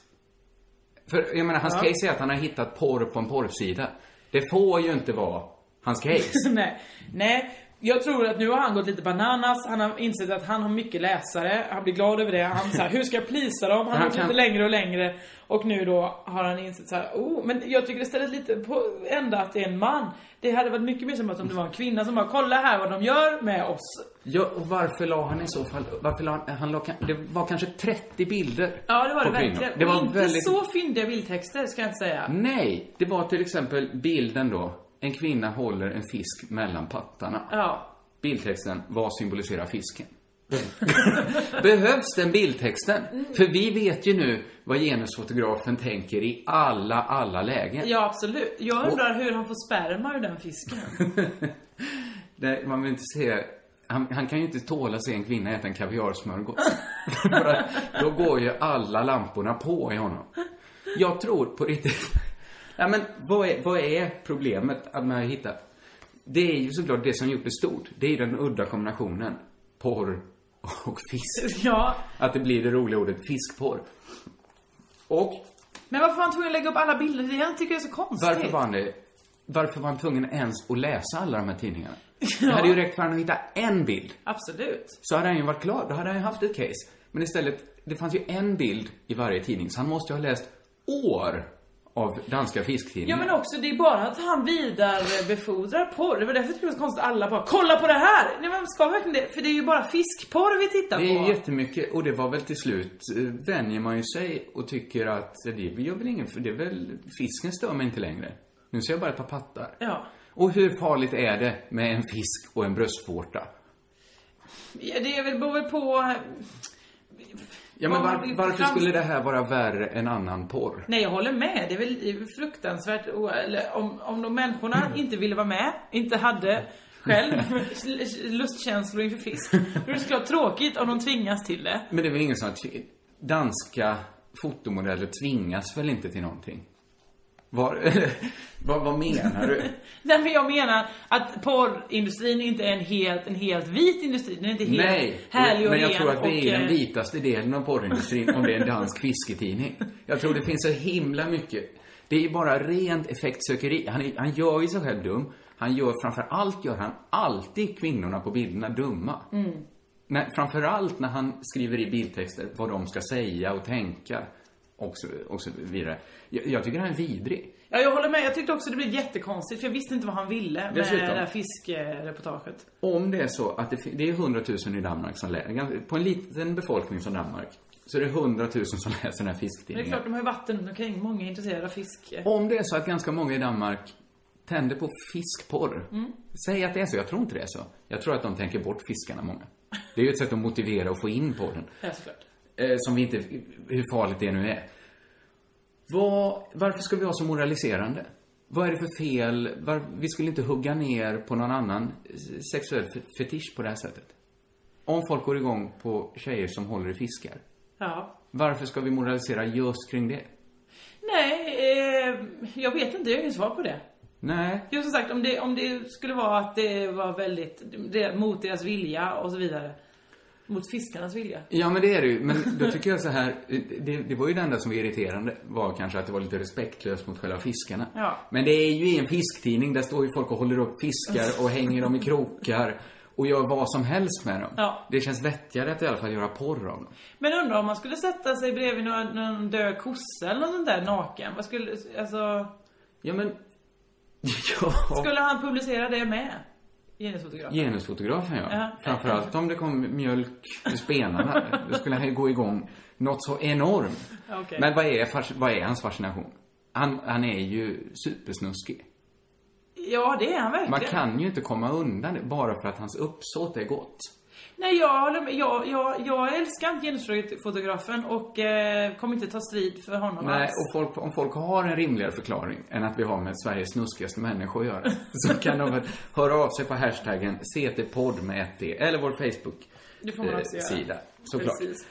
Speaker 9: För jag menar, hans case är att han har hittat porr på en porrsida. Det får ju inte vara hans case.
Speaker 8: *laughs* Nej. Nej. Jag tror att nu har han gått lite bananas, han har insett att han har mycket läsare, han blir glad över det. Han så här, hur ska jag plisa dem? Han
Speaker 9: Han
Speaker 8: har gått
Speaker 9: kan-
Speaker 8: lite längre och längre. Och nu då har han insett så här, oh, men jag tycker istället lite på ända att det är en man. Det hade varit mycket mer som att om det var en kvinna som bara, kolla här vad de gör med oss.
Speaker 9: Ja, och varför la han i så fall... Varför la han... han la, kan- det var kanske 30 bilder.
Speaker 8: Ja det var det
Speaker 9: på kvinnor.
Speaker 8: verkligen.
Speaker 9: Det var
Speaker 8: och inte
Speaker 9: väldigt... Mm.
Speaker 8: så fyndiga bildtexter ska jag inte säga.
Speaker 9: Nej, det var till exempel bilden då. En kvinna håller en fisk mellan pattarna.
Speaker 8: Ja.
Speaker 9: Bildtexten, vad symboliserar fisken? *laughs* Behövs den bildtexten? För vi vet ju nu vad genusfotografen tänker i alla, alla lägen.
Speaker 8: Ja absolut. Jag undrar hur han får sperma ur den fisken.
Speaker 9: där man vill inte se... Han, han kan ju inte tåla att se en kvinna äta en kaviarsmörgås. För att då går ju alla lamporna på i honom. Jag tror på riktigt... Ja, men vad är, vad är problemet att man har hittat? Det är ju såklart det som gjort det stort. Det är ju den udda kombinationen. Porr och fisk.
Speaker 8: Ja,
Speaker 9: Att det blir det roliga ordet fiskporr. Och
Speaker 8: men varför var han tvungen att lägga upp alla bilder? Det jag tycker jag är så konstigt.
Speaker 9: varför var han det? Varför var han tvungen ens att läsa alla de här tidningarna? Det hade ju räckt för honom att hitta en bild.
Speaker 8: Absolut.
Speaker 9: Så hade han ju varit klar. Då hade han ju haft ett case. Men istället, det fanns ju en bild i varje tidning. Så han måste ju ha läst år av danska
Speaker 8: Ja
Speaker 9: fisktidningar.
Speaker 8: men också, det är bara att han vidarebefordrar porr. Det var därför jag tyckte det var så konstigt att alla bara 'Kolla på det här!' Nej men ska vi verkligen det? För det är ju bara fiskporr vi tittar
Speaker 9: Det är
Speaker 8: på.
Speaker 9: jättemycket och det var väl till slut eh, vänjer man ju sig och tycker att det gör väl ingen för det är väl fisken stör mig inte längre. Nu ser jag bara ett par pattar.
Speaker 8: Ja.
Speaker 9: Och hur farligt är det med en fisk och en bröstvårta?
Speaker 8: Ja, det är väl, beror väl på...
Speaker 9: Ja men
Speaker 8: Om man
Speaker 9: var,
Speaker 8: vill
Speaker 9: varför
Speaker 8: fram-
Speaker 9: skulle det här vara värre än annan porr?
Speaker 8: Nej jag håller med, det är väl fruktansvärt. Och- Eller, om, om de människorna
Speaker 9: Mm.
Speaker 8: inte ville vara med, inte hade
Speaker 9: *laughs*
Speaker 8: själv lustkänslor inför fisk. Då är det såklart tråkigt om de tvingas till det.
Speaker 9: Men det är väl ingen som att danska fotomodeller tvingas väl inte till någonting? Var, *laughs* vad, vad menar du?
Speaker 8: *laughs* Nej men jag menar att porrindustrin inte är en helt, en helt vit industri. Den är inte helt
Speaker 9: Nej,
Speaker 8: härlig och
Speaker 9: men jag
Speaker 8: ren
Speaker 9: tror att det är
Speaker 8: och,
Speaker 9: den
Speaker 8: eh,
Speaker 9: vitaste delen av porrindustrin om det är en
Speaker 8: *laughs*
Speaker 9: dansk fisketidning. Jag tror det finns så himla mycket. Det är ju bara rent effektsökeri. Han, är, han gör ju sig själv dum. Han gör, framför allt gör han alltid kvinnorna på bilderna dumma. Mm. När, framför allt när han skriver i bildtexter vad de ska säga och tänka och så, och så vidare. Jag, jag tycker han är vidrig.
Speaker 8: Ja, jag håller med. Jag tyckte också det blev jättekonstigt för jag visste inte vad han ville med
Speaker 9: Dessutom.
Speaker 8: det där fiskreportaget.
Speaker 9: Om det är så att det, fin- det är 100 000 i Danmark som läser, på en liten befolkning som Danmark, så är det 100 000 som *laughs* läser den här
Speaker 8: Men det är
Speaker 9: fisktidningen.
Speaker 8: klart, de har ju vatten runt omkring. Många är intresserade av fiske.
Speaker 9: Om det är så att ganska många i Danmark tänder på fiskporr.
Speaker 8: Mm.
Speaker 9: Säg att det är så. Jag tror inte det är så. Jag tror att de tänker bort fiskarna, många. Det är ju ett sätt att motivera och få in porren.
Speaker 8: Ja, såklart.
Speaker 9: Eh, som vi inte... Hur farligt det nu är. Vad, varför ska vi vara så moraliserande? Vad är det för fel? Var, vi skulle inte hugga ner på någon annan eh, sexuell fe- fetisch på det här sättet. Om folk går igång på tjejer som håller i fiskar.
Speaker 8: Ja.
Speaker 9: Varför ska vi moralisera just kring det?
Speaker 8: Nej, eh, jag vet inte. Jag har inget svar på det.
Speaker 9: Nej,
Speaker 8: Jo, som sagt, om det, om det skulle vara att det var väldigt det, mot deras vilja och så vidare. Mot fiskarnas vilja.
Speaker 9: Ja, men det är det ju. Men
Speaker 8: *laughs*
Speaker 9: då tycker jag så här, det, det var ju det enda som var irriterande var kanske att det var lite respektlöst mot själva fiskarna.
Speaker 8: Ja.
Speaker 9: Men det är ju i en fisktidning, där står ju folk och håller upp fiskar och hänger dem i krokar och gör vad som helst med dem.
Speaker 8: Ja.
Speaker 9: Det känns vettigare att i alla fall göra porr av dem.
Speaker 8: Men undrar om man skulle sätta sig bredvid någon, någon död kossa eller något sånt där naken. Vad skulle, alltså,
Speaker 9: Ja, men... *laughs* Ja.
Speaker 8: skulle han publicera det med? Genusfotografen.
Speaker 9: Genusfotografen, ja.
Speaker 8: Ja.
Speaker 9: Framförallt om det kom mjölk i spenarna. Då skulle han ju gå igång något så enormt.
Speaker 8: Okej.
Speaker 9: Men vad är, fas- vad är hans fascination? Han, han är ju supersnuskig.
Speaker 8: Ja, det är han verkligen.
Speaker 9: Man kan ju inte komma undan det bara för att hans uppsåt är gott.
Speaker 8: Nej, jag håller med. Jag, jag, jag älskar inte genusfotografen och eh, kommer inte ta strid för honom
Speaker 9: Nej,
Speaker 8: alls.
Speaker 9: och folk, om folk har en rimligare förklaring än att vi har med Sveriges snuskigaste människor att göra *laughs* så kan de väl höra av sig på hashtaggen CTPodd med ett D eller vår
Speaker 8: Det får man också göra.
Speaker 9: Facebook-sida. eh, såklart.
Speaker 8: Precis.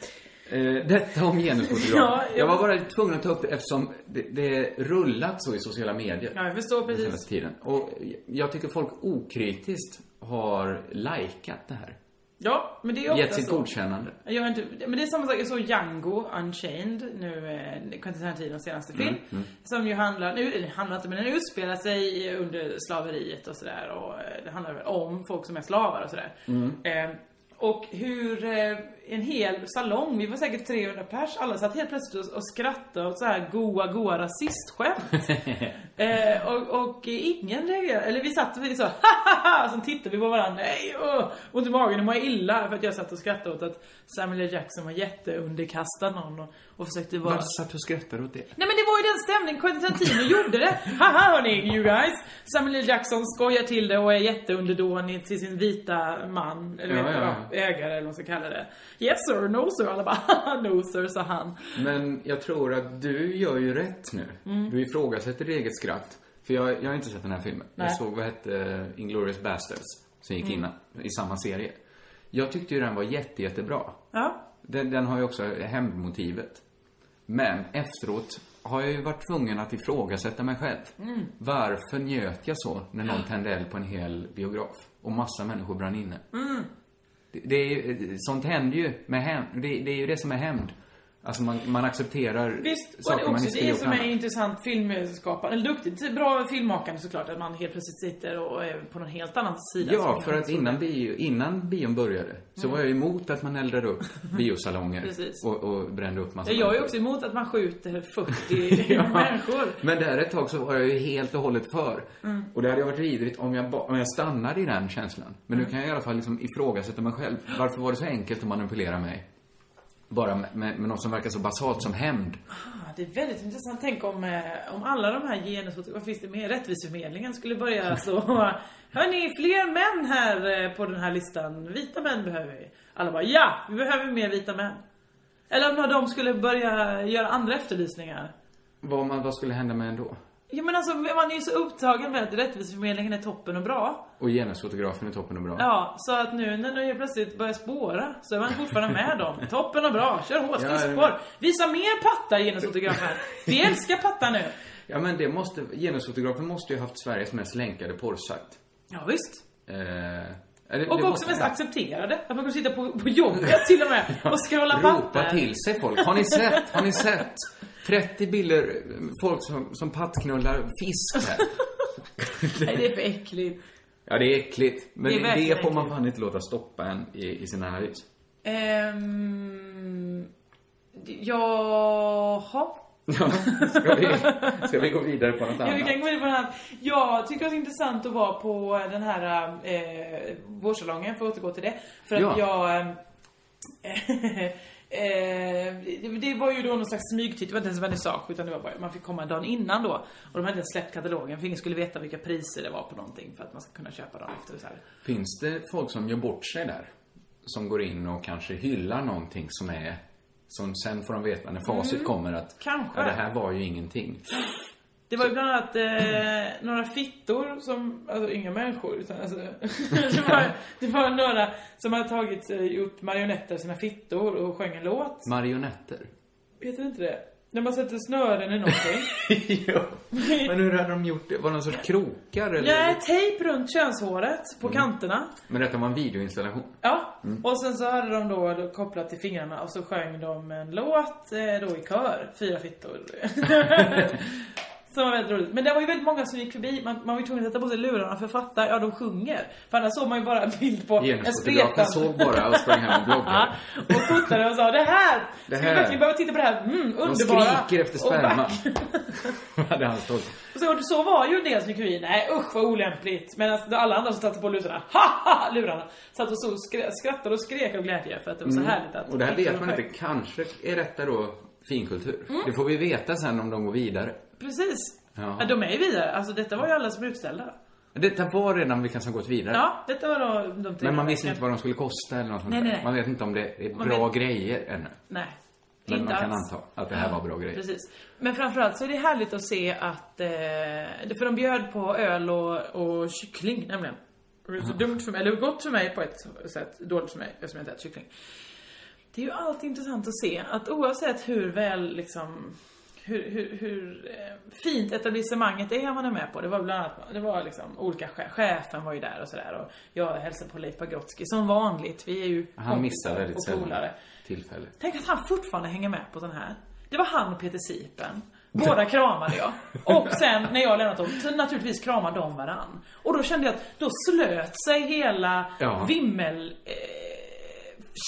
Speaker 9: Eh, detta om genusfotografen.
Speaker 8: *laughs* Ja,
Speaker 9: jag var
Speaker 8: ja.
Speaker 9: bara tvungen att ta upp det eftersom det, det rullat så i sociala medier.
Speaker 8: Ja, jag förstår
Speaker 9: den
Speaker 8: precis.
Speaker 9: senaste tiden. Och jag tycker folk okritiskt har likat det här.
Speaker 8: Ja, men det är ofta
Speaker 9: Gett sitt
Speaker 8: så.
Speaker 9: godkännande.
Speaker 8: Jag har inte, men det är samma sak, jag såg Django Unchained nu, eh, Quentin Tarantinos senaste film. Som ju handlar, nu eller handlar inte men den utspelar sig under slaveriet och sådär och eh, det handlar väl om folk som är slavar och sådär. Eh, och hur eh, en hel salong, vi var säkert 300 pers, alla satt helt plötsligt och, och skrattade åt så här goa goa rasistskämt. Eh, och, och ingen reagerade, eller vi satt och vi sa hahaha, och sen tittade vi på varandra, nej, åh, ont i magen, nu mår jag illa. För att jag satt och skrattade åt att Samuel L. Jackson var jätteunderkastad någon och, och försökte vara...
Speaker 9: Varför satt du och skrattade åt det?
Speaker 8: Nej men det var ju den stämningen Quentin Tarantino gjorde det. Haha hörni, you guys. Samuel L. Jackson skojar till det och är jätteunderdånig till sin vita man, eller
Speaker 9: Ja,
Speaker 8: vet
Speaker 9: ja,
Speaker 8: vad, ägare eller vad man ska kalla det. Yes sir, no sir. Alla bara haha no sir, sa han.
Speaker 9: Men jag tror att du gör ju rätt nu. Du ifrågasätter ditt eget skratt. För jag, jag har inte sett den här filmen.
Speaker 8: Nej.
Speaker 9: Jag såg, vad hette Inglourious Basterds. som gick innan, i samma serie. Jag tyckte ju den var jätte, jättebra.
Speaker 8: Ja.
Speaker 9: Den, den har ju också hämndmotivet. Men efteråt har jag ju varit tvungen att ifrågasätta mig själv.
Speaker 8: Mm.
Speaker 9: Varför njöt jag så när någon tände eld på en hel biograf och massa människor brann inne?
Speaker 8: Mm.
Speaker 9: Det, det är ju, sånt händer ju med hämnd. Det, det är ju det som är hämnd. Alltså man, man accepterar
Speaker 8: Visst, och det
Speaker 9: saker
Speaker 8: är
Speaker 9: man
Speaker 8: också
Speaker 9: inte skulle
Speaker 8: det
Speaker 9: gjort
Speaker 8: som är
Speaker 9: annars.
Speaker 8: intressant filmskapande, eller duktigt, bra filmmakande såklart, att man helt plötsligt sitter och är på någon helt annan sida.
Speaker 9: Ja,
Speaker 8: som-
Speaker 9: för att innan, bio, innan bion började så var jag emot att man eldade
Speaker 8: *laughs*
Speaker 9: upp biosalonger
Speaker 8: Mm. Precis.
Speaker 9: och, och brände upp massa
Speaker 8: Ja, Jag är
Speaker 9: människor.
Speaker 8: också emot att man skjuter
Speaker 9: *laughs*
Speaker 8: 40 *laughs* människor. Mm.
Speaker 9: Men där ett tag så var jag ju helt och hållet för. Och det hade varit vidrigt om jag, ba- om jag stannade i den känslan. Men
Speaker 8: Mm.
Speaker 9: nu kan jag i alla fall liksom ifrågasätta mig själv. Varför var det så enkelt att manipulera mig? Bara med, med, med något som verkar så basalt som hämnd.
Speaker 8: Ja, Det är väldigt intressant. Tänk om, eh, om alla de här genusfotograferna, vad finns det mer? Rättviseförmedlingen
Speaker 9: *laughs*
Speaker 8: skulle börja så. Hörni, fler män här eh, på den här listan. Vita män behöver vi. Alla bara, ja, vi behöver mer vita män. Eller om de skulle börja göra andra efterlysningar.
Speaker 9: Vad, man, vad skulle hända med en då?
Speaker 8: Ja men alltså man är ju så upptagen med att rättviseförmedlingen är toppen och bra.
Speaker 9: Och genusfotografen är toppen och bra.
Speaker 8: Ja, så att nu när de helt plötsligt börjar spåra så är man fortfarande
Speaker 9: *laughs*
Speaker 8: med dem. Toppen och bra, kör hårt
Speaker 9: Ja,
Speaker 8: spår. Visa mer patta genusfotografen. Vi älskar patta nu.
Speaker 9: Ja, men det måste, genusfotografen måste ju ha haft Sveriges mest länkade porrsajt.
Speaker 8: Ja, visst.
Speaker 9: Eh, eller det
Speaker 8: Och också
Speaker 9: måste-
Speaker 8: mest accepterade. Att man kan sitta på, på jobbet till och med och scrolla
Speaker 9: Ropa
Speaker 8: papper.
Speaker 9: till sig folk. Har ni sett? Har ni sett? 30 bilder, eh, folk som, som pattknullar fisk här.
Speaker 8: *laughs* Nej, det är för äckligt.
Speaker 9: Ja, det är äckligt. Men
Speaker 8: Det
Speaker 9: det,
Speaker 8: är verkligen
Speaker 9: får man
Speaker 8: äckligt.
Speaker 9: fan inte låta stoppa en i, i sin analys.
Speaker 8: Ehm... Jaha.
Speaker 9: *laughs* Ja, ska, vi, ska vi gå vidare på något
Speaker 8: Ja, vi
Speaker 9: annat?
Speaker 8: kan gå in på den här. Jag tycker det är intressant att vara på den här eh, vårsalongen, för att återgå till det. För att
Speaker 9: Ja.
Speaker 8: jag... eh, *laughs* eh, det- det var ju då någon slags smygtitt, det var inte ens vernissage utan det var bara, man fick komma dagen innan då. Och de hade inte släppt katalogen för ingen skulle veta vilka priser det var på någonting för att man ska kunna köpa dem efter. Så här.
Speaker 9: Finns det folk som gör bort sig där? Som går in och kanske hyllar någonting som är... Som sen får de veta när facit kommer att...
Speaker 8: Mm. kanske.
Speaker 9: Ja, det här var ju ingenting.
Speaker 8: Det var ju bland annat eh, några fittor som, alltså inga människor utan alltså, *laughs* det, var, det var några som hade tagit eh, gjort marionetter av sina fittor och sjöng en låt.
Speaker 9: Marionetter.
Speaker 8: Heter inte det? När man sätter snören i någonting.
Speaker 9: ja. *laughs* Men hur hade de gjort det? Var det någon sorts krokar eller?
Speaker 8: Nej, tejp runt könshåret på kanterna.
Speaker 9: Men detta var en videoinstallation.
Speaker 8: Ja,
Speaker 9: Mm.
Speaker 8: och sen så hade de då kopplat till fingrarna och så sjöng de en låt eh, då i kör,
Speaker 9: *laughs*
Speaker 8: fyra fittor. Som var väldigt roligt. Men det var ju väldigt många som gick förbi, man, man var ju tvungen att sätta på sig lurarna för att fatta, ja de sjunger. För annars såg man ju bara en bild på en
Speaker 9: Genusfotografen
Speaker 8: spretan.
Speaker 9: såg bara och sprang hem och
Speaker 8: Ja,
Speaker 9: bloggade.
Speaker 8: *laughs* och fotade och sa det här!
Speaker 9: Det
Speaker 8: Ska vi
Speaker 9: här.
Speaker 8: verkligen behöva titta på det här? Mm,
Speaker 9: De
Speaker 8: underbara!
Speaker 9: skriker efter
Speaker 8: och
Speaker 9: sperman.
Speaker 8: *laughs* vackra."
Speaker 9: hade han stått.
Speaker 8: Och Så, och så var ju en del som gick förbi, nej usch vad olämpligt. Medan alla andra som satte på lurarna, haha lurarna. Satt och så skra- skrattade och skrek av glädje för att det var så härligt att...
Speaker 9: Mm. Och det här vet man inte. Kanske är detta då finkultur.
Speaker 8: Mm.
Speaker 9: Det får vi veta sen om de går vidare.
Speaker 8: Precis.
Speaker 9: Ja.
Speaker 8: Ja. de är ju vidare, alltså detta var ju alla som är utställda.
Speaker 9: Detta var redan vilka som gått vidare.
Speaker 8: Ja, detta var då de tre.
Speaker 9: Men man visste inte vad de skulle kosta eller något sånt
Speaker 8: Nej,
Speaker 9: där.
Speaker 8: nej, nej.
Speaker 9: Man vet inte om det är
Speaker 8: Man
Speaker 9: bra
Speaker 8: vet-
Speaker 9: grejer ännu.
Speaker 8: Nej.
Speaker 9: Men
Speaker 8: inte
Speaker 9: man kan
Speaker 8: alls.
Speaker 9: anta att det här var bra grejer.
Speaker 8: Precis. Men framförallt så är det härligt att se att... Eh, för de bjöd på öl och, och kyckling nämligen. Det är så dumt för mig, eller gott för mig på ett sätt, dåligt för mig eftersom jag inte äter kyckling. Det är ju alltid intressant att se att oavsett hur väl liksom hur, hur, hur eh, fint etablissemanget är man är med på. Det var bland annat, det var liksom olika chefer, chefen var ju där och sådär och jag hälsade på Leif Pagrotsky som vanligt. Vi är ju
Speaker 9: Han missar
Speaker 8: kompisar
Speaker 9: väldigt
Speaker 8: och
Speaker 9: sällan
Speaker 8: polare.
Speaker 9: tillfälle.
Speaker 8: Tänk att han fortfarande hänger med på den här. Det var han och Peter Sipen. Båda kramade jag. Och sen när jag lämnat dem, så naturligtvis kramade de varann. Och då kände jag att då slöt sig hela
Speaker 9: Ja.
Speaker 8: vimmel... Eh,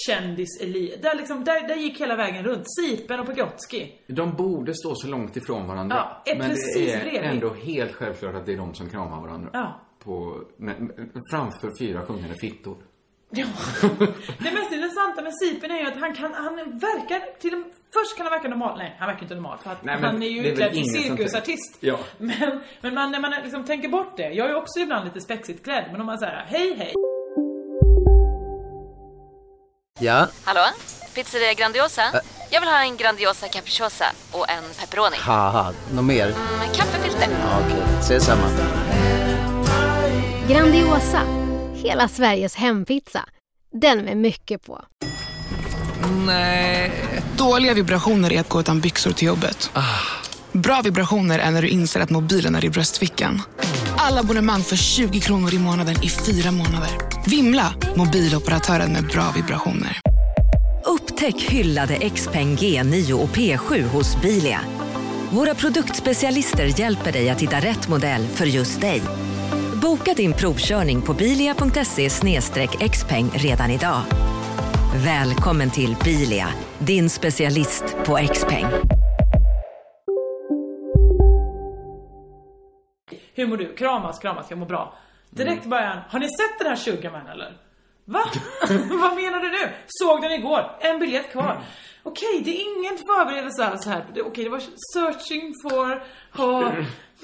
Speaker 8: kändis där, liksom, där, där gick hela vägen runt. Sipen och Pagrotsky.
Speaker 9: De borde stå så långt ifrån varandra.
Speaker 8: Ja, är
Speaker 9: men
Speaker 8: precis
Speaker 9: det är
Speaker 8: bredvid.
Speaker 9: ändå helt självklart att det är de som kramar varandra.
Speaker 8: Ja.
Speaker 9: På, men- framför fyra sjungande fittor.
Speaker 8: Ja. *laughs* Det mest intressanta med Sipen är ju att han kan, han verkar, till först kan han verka normal, nej han verkar inte normal för att
Speaker 9: Nej, men
Speaker 8: han är
Speaker 9: det
Speaker 8: ju
Speaker 9: är väl
Speaker 8: utklädd till
Speaker 9: ingen som tänker-
Speaker 8: cirkusartist.
Speaker 9: Ja.
Speaker 8: Men, men man, när man liksom tänker bort det, jag är ju också ibland lite spexigt klädd, men om man säger hej hej.
Speaker 10: Ja,
Speaker 11: Hallå? Pizzeria Grandiosa? Jag vill ha en Grandiosa capriciosa och en pepperoni. Mm,
Speaker 10: haha, något mer?
Speaker 11: Med kaffefilter.
Speaker 10: Ja, Okej, ses samma.
Speaker 11: Grandiosa,
Speaker 12: Hela Sveriges hempizza. Den med mycket på.
Speaker 13: Nej. Dåliga vibrationer är att gå utan byxor till jobbet. Bra vibrationer är när du inser att mobilen är i bröstfickan. Alla abonnemang för 20 kronor i månaden i fyra månader. Vimla! Mobiloperatören med bra vibrationer.
Speaker 14: Upptäck hyllade XPeng G9 och P7 hos Bilia. Våra produktspecialister hjälper dig att hitta rätt modell för just dig. Boka din provkörning på bilia.se xpeng redan idag. Välkommen till Bilia, din specialist på XPeng.
Speaker 8: Hur mår du? Kramas, kramas, jag mår bra. Direkt i
Speaker 9: Mm.
Speaker 8: början, har ni sett den här Sugarman eller? Va? *laughs* Vad menar du nu? Såg den igår, en biljett
Speaker 9: Mm.
Speaker 8: kvar. Okej, det är ingen förberedelse alls här. Det- Okej, det var searching for... ha- *laughs*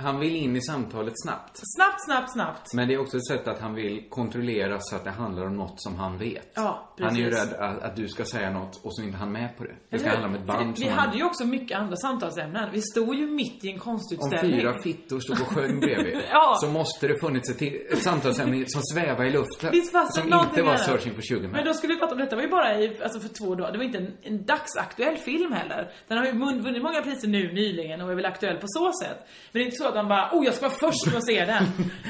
Speaker 9: Han vill in i samtalet snabbt.
Speaker 8: snabbt, snabbt, snabbt.
Speaker 9: Men det är också ett sätt att han vill kontrollera så att det handlar om något som han vet.
Speaker 8: Ja, precis.
Speaker 9: han är ju rädd att, att du ska säga något och så är inte han med på det. Det ska
Speaker 8: Eller hur?
Speaker 9: handla om ett
Speaker 8: För
Speaker 9: band
Speaker 8: Vi
Speaker 9: som han...
Speaker 8: hade ju också mycket andra samtalsämnen. Vi stod ju mitt i en
Speaker 9: Om
Speaker 8: konstutställning.
Speaker 9: fyra fittor stod och sjöng bredvid
Speaker 8: *laughs* Ja.
Speaker 9: så måste det funnits ett, till- ett samtalsämne som svävar i luften.
Speaker 8: Visst fanns det
Speaker 9: som
Speaker 8: någonting
Speaker 9: inte var
Speaker 8: där?
Speaker 9: Searching for Sugar Man.
Speaker 8: Men då skulle vi prata om detta, var ju bara i, alltså för två dagar, det var inte en, en dagsaktuell film heller. Den har ju mun- vunnit många priser nu nyligen och är väl aktuell på så sätt. Men det är inte så att han bara, oh jag ska vara först med att
Speaker 9: *laughs*
Speaker 8: se den.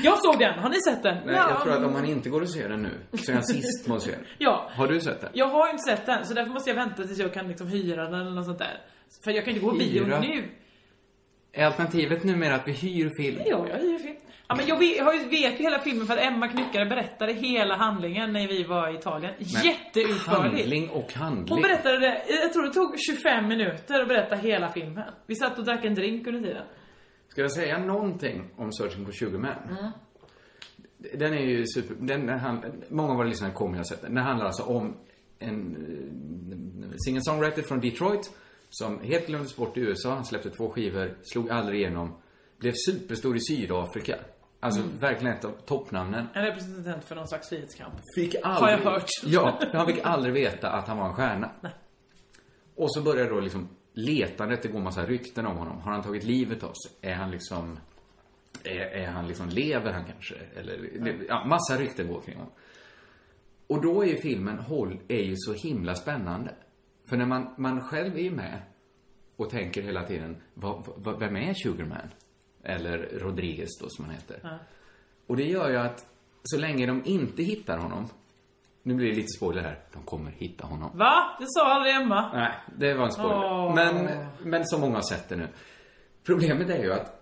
Speaker 8: Jag såg den, har ni sett den?
Speaker 9: Nej,
Speaker 8: Ja.
Speaker 9: jag tror att om han inte går och ser den nu så är han sist med att se den.
Speaker 8: Ja.
Speaker 9: Har du sett den?
Speaker 8: Jag har ju inte sett den, så därför måste jag vänta tills jag kan liksom hyra den eller något sånt där. För jag kan inte gå på bio
Speaker 9: Hyra?
Speaker 8: nu.
Speaker 9: Är alternativet numera att vi hyr film?
Speaker 8: Ja, jag hyr film. Ja, men jag vet, jag har ju- vet ju hela filmen för att Emma Knyckare berättade hela handlingen när vi var i Italien.
Speaker 9: Men
Speaker 8: Jätteutförligt.
Speaker 9: Handling och handling.
Speaker 8: Hon berättade det, jag tror det tog 25 minuter att berätta hela filmen. Vi satt och drack en drink under tiden.
Speaker 9: Ska jag säga någonting om Searching for Sugar Man? Den är ju super... Den, den hand, många av våra lyssnare kommer ju ha sett den. Den handlar alltså om en eh, singer-songwriter från Detroit som helt glömdes bort i USA. Han släppte två skivor, slog aldrig igenom. Blev superstor i Sydafrika. Alltså
Speaker 8: Mm.
Speaker 9: verkligen ett av toppnamnen.
Speaker 8: En representant för någon slags frihetskamp.
Speaker 9: Fick
Speaker 8: Har jag
Speaker 9: aldrig,
Speaker 8: hört.
Speaker 9: Ja, för han fick aldrig veta att han var en stjärna. Och så börjar då liksom letandet, det går massa rykten om honom. Har han tagit livet av sig? Är han liksom... Är, är han liksom, lever han kanske? Eller,
Speaker 8: Mm.
Speaker 9: det, ja, massa rykten går kring honom. Och då är ju filmen Håll är ju så himla spännande. För när man, man själv är ju med och tänker hela tiden, vad, vad, vem är Sugarman? Eller Rodriguez då, som han heter.
Speaker 8: Ja.
Speaker 9: Och det gör ju att så länge de inte hittar honom, nu blir det lite spoiler här, de kommer hitta honom.
Speaker 8: *laughs* Va? Det sa aldrig Emma.
Speaker 9: Nej, det var en spoiler.
Speaker 8: Åh.
Speaker 9: Men, men så många har sett det nu. Problemet är ju att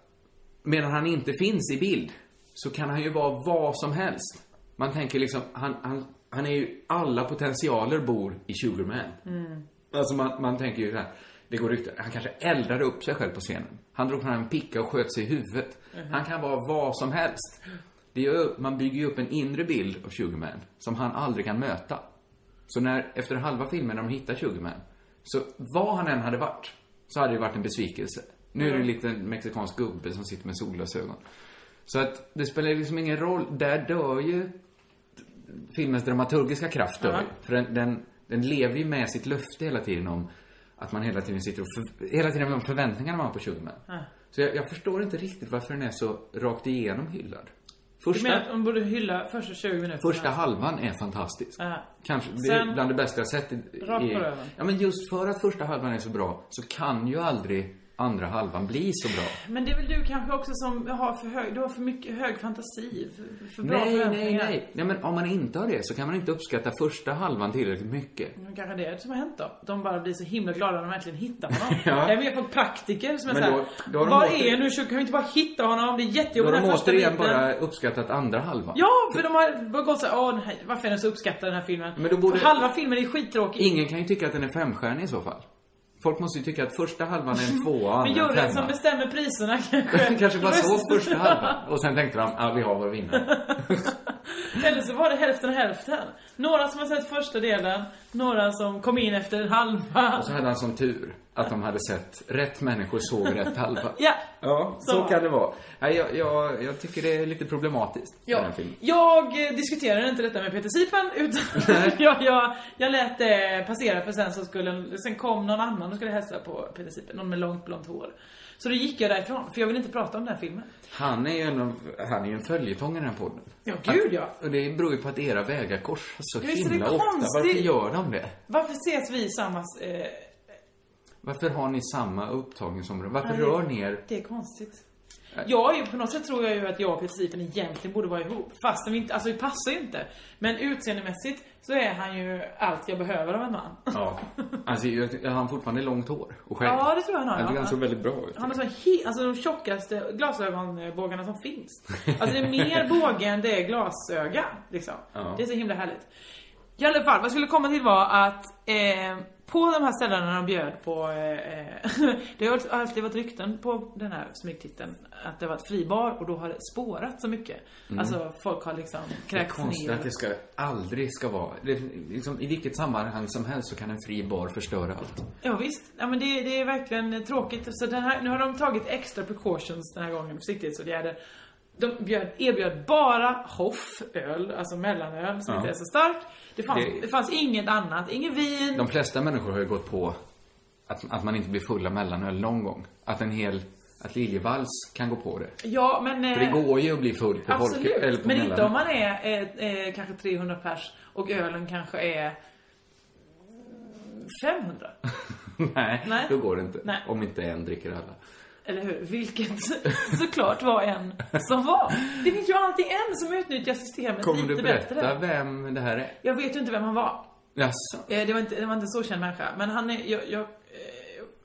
Speaker 9: medan han inte finns i bild så kan han ju vara vad som helst. Man tänker liksom, han, han, han är ju, alla potentialer bor i Sugarman.
Speaker 8: Mm.
Speaker 9: Alltså man, man tänker ju så här, det går rykten, han kanske eldade upp sig själv på scenen. Han drog fram en picka och sköt sig i huvudet.
Speaker 8: Mhm.
Speaker 9: Han kan vara vad som helst. Det gör, ju- man bygger ju upp en inre bild av Sugarman som han aldrig kan möta. Så när, efter halva filmen när de hittar Sugarman, så vad han än hade varit, så hade det varit en besvikelse. Nu är det en
Speaker 8: Mm.
Speaker 9: liten mexikansk gubbe som sitter med solglasögon. Så att det spelar liksom ingen roll, där dör ju filmens dramaturgiska kraft dör
Speaker 8: Ja.
Speaker 9: ju. För den, den, den lever ju med sitt löfte hela tiden om att man hela tiden sitter och för, hela tiden med de förväntningarna man har på Sugarman.
Speaker 8: Ja.
Speaker 9: Så jag, jag förstår inte riktigt varför den är så rakt igenom hyllad.
Speaker 8: Du
Speaker 9: Första,
Speaker 8: menar att hon borde hylla första 20 minuterna?
Speaker 9: första halvan är fantastisk.
Speaker 8: Ja.
Speaker 9: Kanske, det
Speaker 8: Sen-
Speaker 9: är bland det bästa jag sett i,
Speaker 8: Rakt på
Speaker 9: i,
Speaker 8: röven.
Speaker 9: Ja men just för att första halvan är så bra så kan ju aldrig andra halvan bli så bra.
Speaker 8: Men det är väl du kanske också som har för hög, du har för mycket hög fantasi. För, för bra
Speaker 9: Nej, nej,
Speaker 8: förväntningar.
Speaker 9: nej. Nej men om man inte har det så kan man inte uppskatta första halvan tillräckligt mycket.
Speaker 8: Men Mm, kanske det är det som har hänt då. De bara blir så himla glada när de äntligen hittar honom.
Speaker 9: *laughs* Ja.
Speaker 8: Jag har mer fått praktiker som är
Speaker 9: Men
Speaker 8: såhär,
Speaker 9: då- då har de
Speaker 8: var
Speaker 9: åter-
Speaker 8: är nu Kan vi inte bara hitta honom? Det är
Speaker 9: Då har
Speaker 8: jättejobbigt den
Speaker 9: de
Speaker 8: här första
Speaker 9: återigen
Speaker 8: biten.
Speaker 9: bara uppskattat andra halvan.
Speaker 8: Ja, för de har bara gått såhär, åh nej, varför är den så uppskattad den här filmen?
Speaker 9: Men då borde-
Speaker 8: För halva filmen är skittråkig.
Speaker 9: Ingen kan ju tycka att den är femstjärnig i så fall. Folk måste ju tycka att första halvan är en tvåa och
Speaker 8: Men
Speaker 9: andra en
Speaker 8: juryn som
Speaker 9: femma. *laughs*
Speaker 8: bestämmer priserna kanske.
Speaker 9: kanske bara såg
Speaker 8: Röst-
Speaker 9: första halvan och sen tänkte de, ah, vi har vår vinnare.
Speaker 8: *laughs* Eller så var det hälften hälften. Några som har sett första delen, några som kom in efter en halva.
Speaker 9: Och så hade han som tur att de hade sett rätt människor såg rätt halva.
Speaker 8: Ja.
Speaker 9: Ja, så,
Speaker 8: Så.
Speaker 9: kan det vara. Nej, jag, jag, jag tycker det är lite problematiskt med den
Speaker 8: Ja,
Speaker 9: här filmen.
Speaker 8: jag eh, diskuterade inte detta med Peter Sipen
Speaker 9: *laughs*
Speaker 8: utan *laughs* jag, jag, jag lät det passera för sen så skulle, sen kom någon annan och skulle hälsa på Peter Sipen, någon med långt blont hår. Så då gick jag därifrån, för jag ville inte prata om den här filmen.
Speaker 9: Han är ju en, av- han är ju en följetong i den här podden.
Speaker 8: Ja, gud, ja.
Speaker 9: Att- Och det beror ju på att era vägar korsar så
Speaker 8: Ja, visst är det
Speaker 9: himla ofta. Varför
Speaker 8: konstigt?
Speaker 9: gör de det?
Speaker 8: Varför ses vi i samma... Eh,
Speaker 9: Varför har ni samma upptagningsområde? Varför
Speaker 8: nej,
Speaker 9: rör ni er?
Speaker 8: Det är konstigt. Jag är ju, på något sätt tror jag ju att jag och Peter Sipen egentligen borde vara ihop. Fastän vi inte, alltså vi passar ju inte. Men utseendemässigt så är han ju allt jag behöver av en man. *laughs*
Speaker 9: Ja. Alltså, jag, jag har fortfarande långt hår och skägg.
Speaker 8: Ja, det tror jag han har,
Speaker 9: Jag tycker
Speaker 8: ja.
Speaker 9: han såg väldigt bra ut.
Speaker 8: Han har så he- alltså de tjockaste glasögonbågarna som
Speaker 9: *laughs*
Speaker 8: finns. Alltså det är mer båge än det är glasöga. Liksom.
Speaker 9: Ja.
Speaker 8: Det är så himla härligt. I alla fall, vad jag skulle komma till var att eh, på de här ställena de bjöd på, eh, eh, *laughs* det har alltid varit rykten på den här smygtiteln att det har varit fribar och då har det spårat så mycket.
Speaker 9: Mm.
Speaker 8: Alltså folk har liksom
Speaker 9: Det är
Speaker 8: kräkts
Speaker 9: konstigt att
Speaker 8: ner.
Speaker 9: det ska, aldrig ska vara. Det, liksom, I vilket sammanhang som helst så kan en fri bar förstöra allt.
Speaker 8: Ja, visst. Ja, men det, det är verkligen tråkigt. Så den här, nu har de tagit extra precautions den här gången, försiktighetsåtgärder. De bjöd, erbjöd bara hofföl, alltså mellanöl som
Speaker 9: Ja.
Speaker 8: inte är så stark. Det fanns,
Speaker 9: Det-
Speaker 8: det... fanns inget annat, inget vin.
Speaker 9: De flesta människor har ju gått på att, att man inte blir fulla mellanöl någon gång. Att en hel, att Liljevalchs kan gå på det.
Speaker 8: Ja, men... eh,
Speaker 9: För det går ju att bli full på folk,
Speaker 8: absolut.
Speaker 9: eller på
Speaker 8: men inte
Speaker 9: mellanöl.
Speaker 8: om man är eh, eh, kanske 300 pers och ölen kanske är 500.
Speaker 9: *laughs* Nej,
Speaker 8: Nej.
Speaker 9: då går det inte.
Speaker 8: Nej.
Speaker 9: Om inte en dricker alla.
Speaker 8: Eller hur? Vilket *laughs* såklart var en som var. Det finns ju alltid en som utnyttjar systemet
Speaker 9: Kommer
Speaker 8: lite
Speaker 9: du berätta
Speaker 8: bättre.
Speaker 9: vem det här är?
Speaker 8: Jag vet ju inte vem han var.
Speaker 9: Jaså?
Speaker 8: Eh, Det var inte, det var inte en så känd människa. Men han är, jag, jag, eh,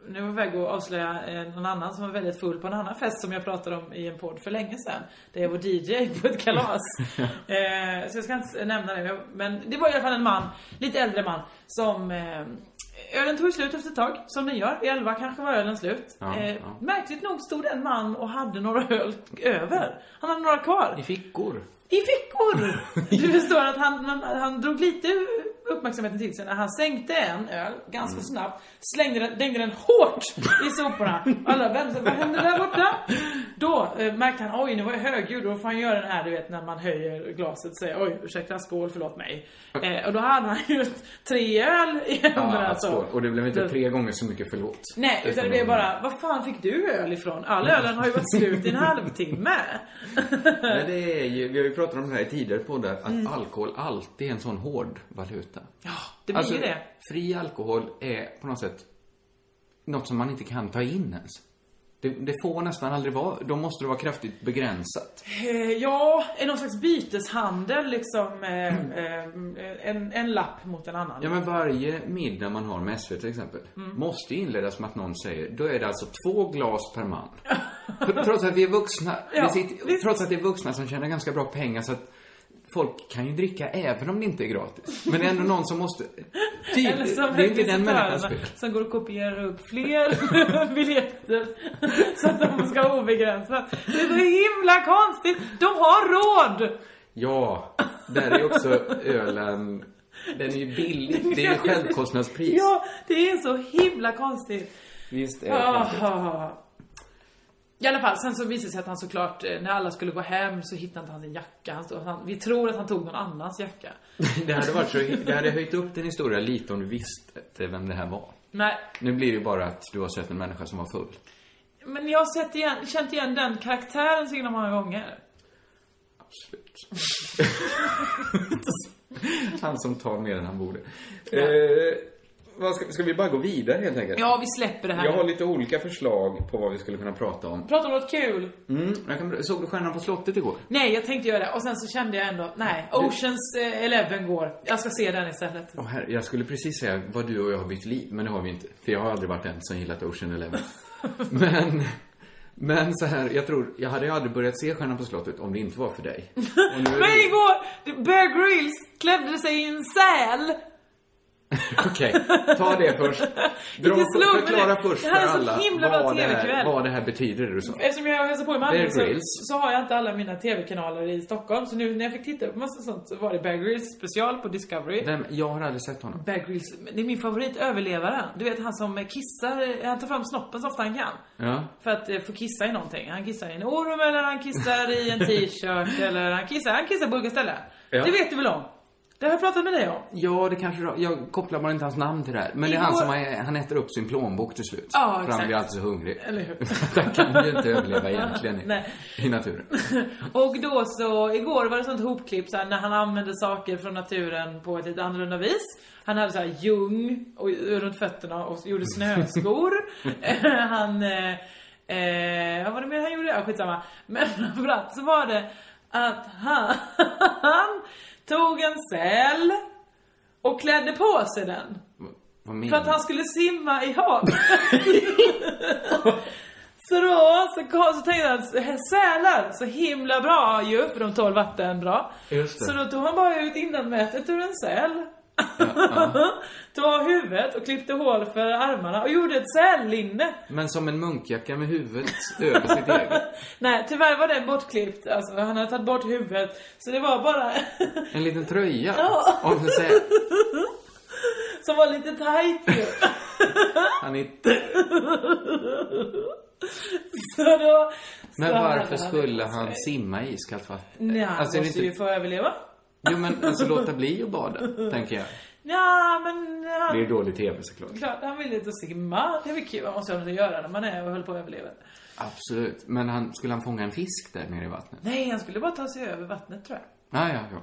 Speaker 8: nu var jag på väg att avslöja eh, någon annan som var väldigt full på en annan fest som jag pratade om i en podd för länge sedan. Där jag var DJ på ett
Speaker 9: *laughs*
Speaker 8: kalas. Eh, så jag ska inte nämna det. Men det var i alla fall en man, lite äldre man, som eh, Ölen tog slut efter ett tag, som den gör. Vid elva kanske var ölen slut.
Speaker 9: Ja,
Speaker 8: eh,
Speaker 9: ja.
Speaker 8: Märkligt nog stod en man och hade några öl över. Han hade några kvar.
Speaker 9: I fickor? *laughs*
Speaker 8: I fickor! Du förstår att han, han, han drog lite uppmärksamheten till sig när han sänkte en öl ganska
Speaker 9: Mm.
Speaker 8: snabbt, slängde den, dängde den hårt i soporna. Alla vände sig, vad hände där borta? Då eh, märkte han, oj nu var jag högljudd, då får han göra den här du vet när man höjer glaset och säger, oj ursäkta, skål, förlåt mig. Eh, och då hade han ju tre öl i händerna
Speaker 9: Ja,
Speaker 8: så.
Speaker 9: så. Och det blev inte
Speaker 8: Men-
Speaker 9: tre gånger så mycket förlåt.
Speaker 8: Nej, utan det blev bara, vad fan fick du öl ifrån? All ölen har ju varit slut i
Speaker 9: *laughs*
Speaker 8: en halvtimme.
Speaker 9: Nej, det är ju, vi har ju pratat om det här i tidigare poddar, att
Speaker 8: Mm.
Speaker 9: alkohol alltid är en sån hård valuta. Ja,
Speaker 8: det blir
Speaker 9: Alltså-
Speaker 8: ju det.
Speaker 9: Fri alkohol är på något sätt något som man inte kan ta in ens. Det, det får nästan aldrig vara, då måste det vara kraftigt begränsat.
Speaker 8: Eh, Ja, en någon slags byteshandel liksom. eh, eh, En, en lapp mot en annan.
Speaker 9: Ja, men varje middag man har med SV till exempel,
Speaker 8: Mm.
Speaker 9: måste inledas med att någon säger, då är det alltså två glas per man. trots att vi är vuxna,
Speaker 8: *laughs* Ja,
Speaker 9: vi sitter, trots att det är vuxna som tjänar ganska bra pengar så att folk kan ju dricka även om det inte är gratis. Men det är ändå någon som
Speaker 8: *laughs*
Speaker 9: måste... Ty,
Speaker 8: Eller som
Speaker 9: det är inte den människans fel.
Speaker 8: requisitörerna som går och kopierar upp fler *laughs* biljetter så att de ska ha obegränsat. Det är så himla konstigt! De har råd!
Speaker 9: Ja, där är också ölen... Den är ju billig. Det är ju självkostnadspris.
Speaker 8: Ja, det är så himla konstigt.
Speaker 9: Visst är det konstigt.
Speaker 8: Ah. I alla fall, sen så visade det sig att han såklart, eh, när alla skulle gå hem så hittade inte han sin jacka. Han stod, han, vi tror att han tog någon annans jacka.
Speaker 9: *laughs* Det hade varit så... Det hade höjt upp din historia lite om du visste vem det här var.
Speaker 8: Nej,
Speaker 9: Nu blir det ju bara att du har sett en människa som var full.
Speaker 8: Men jag har sett igen, känt igen den karaktären så himla många gånger.
Speaker 9: Han som tar mer än han borde. Eh, vad ska, ska vi bara gå vidare helt enkelt?
Speaker 8: Ja, vi släpper det här.
Speaker 9: Jag har lite olika förslag på vad vi skulle kunna prata om.
Speaker 8: Prata om något kul.
Speaker 9: Mm, jag kan, såg du Stjärnan på slottet igår?
Speaker 8: Nej, jag tänkte göra det. Och sen så kände jag ändå, nej, Oceans eh, Eleven går. Jag ska se den istället.
Speaker 9: Åh, herre, jag skulle precis säga vad du och jag har bytt liv, men det har vi inte. För jag har aldrig varit den som gillat Ocean
Speaker 8: *laughs*
Speaker 9: Eleven. men, men så här, jag tror, jag hade ju aldrig börjat se Stjärnan på slottet om det inte var för dig. Och nu är
Speaker 8: *laughs* Men
Speaker 9: det-
Speaker 8: igår, Bear Grylls klädde sig i en säl.
Speaker 9: Okej, ta det
Speaker 8: *laughs*
Speaker 9: först. Dra,
Speaker 8: Vilken slump, men
Speaker 9: förklara
Speaker 8: det-
Speaker 9: först
Speaker 8: det
Speaker 9: för
Speaker 8: här är så
Speaker 9: alla
Speaker 8: himla bra
Speaker 9: vad det, här,
Speaker 8: TV-kväll.
Speaker 9: vad det här betyder, det du sa.
Speaker 8: Eftersom jag hälsar på i
Speaker 9: Bear
Speaker 8: Malmö så,
Speaker 9: Grylls.
Speaker 8: så har jag inte alla mina TV-kanaler i Stockholm. Så nu när jag fick titta på massa sånt så var det Bear Grylls special på Discovery.
Speaker 9: Vem, jag har aldrig sett honom.
Speaker 8: Bear Grylls, men det är min favorit överlevare. Du vet han som kissar, han tar fram snoppen så ofta han kan.
Speaker 9: Ja.
Speaker 8: För att eh, få kissa i någonting. Han kissar i en orm eller han kissar
Speaker 9: *laughs*
Speaker 8: i en t-shirt eller han kissar, han kissar på olika ställen.
Speaker 9: Ja.
Speaker 8: Det vet du väl om? Det har jag pratat med dig om.
Speaker 9: Ja, det kanske du har- Jag kopplar bara inte hans namn till det här. Men det är han
Speaker 8: Igår-
Speaker 9: som har- han äter upp sin plånbok till slut.
Speaker 8: Ja,
Speaker 9: För han
Speaker 8: exakt.
Speaker 9: blir alltid så hungrig.
Speaker 8: Eller hur?
Speaker 9: *laughs* han kan ju inte
Speaker 8: *laughs*
Speaker 9: överleva egentligen i,
Speaker 8: Nej.
Speaker 9: i naturen.
Speaker 8: *laughs* Och då så, igår var det sånt hopklipp så här, när han använde saker från naturen på ett lite annorlunda vis. Han hade så här ljung och, runt fötterna och gjorde snöskor. *laughs* Eh, han, eh, eh, vad var det mer han gjorde? Ja, skitsamma. Men *laughs* framförallt så var det att han, *laughs* han tog en säl och klädde på sig den.
Speaker 9: Vad menar
Speaker 8: För att han skulle simma
Speaker 9: *laughs*
Speaker 8: i havet. så då så, kom, så tänkte han, sälar, så himla bra ju, för de tål vatten bra.
Speaker 9: Just det.
Speaker 8: Så då tog han bara ut innanmätet ur en säl. *laughs* tog av huvudet och klippte hål för armarna och gjorde ett sällinne.
Speaker 9: Men som en munkjacka med huvudet över sitt eget.
Speaker 8: Nej, tyvärr var den bortklippt. Alltså, han hade tagit bort huvudet. Så det var bara *laughs*
Speaker 9: En liten tröja.
Speaker 8: Ja.
Speaker 9: Om du säger,
Speaker 8: som var lite tajt ju. *laughs*
Speaker 9: han inte...
Speaker 8: Så då...
Speaker 9: Men
Speaker 8: så hade
Speaker 9: varför
Speaker 8: han-
Speaker 9: skulle han simma i iskallt vatten?
Speaker 8: Nej, han
Speaker 9: Alltså, är det
Speaker 8: måste ju
Speaker 9: inte-
Speaker 8: få överleva.
Speaker 9: Jo, men alltså låta bli att bada, tänker jag.
Speaker 8: Ja, men han...
Speaker 9: Det är dålig TV såklart.
Speaker 8: Klart, han ville ut och simma. Det är väl kul, man måste ha något att göra när man är och höll på att överleva.
Speaker 9: Absolut. Men han, skulle han fånga en fisk där nere i vattnet?
Speaker 8: Nej, han skulle bara ta sig över vattnet tror jag.
Speaker 9: Ah, ja, ja.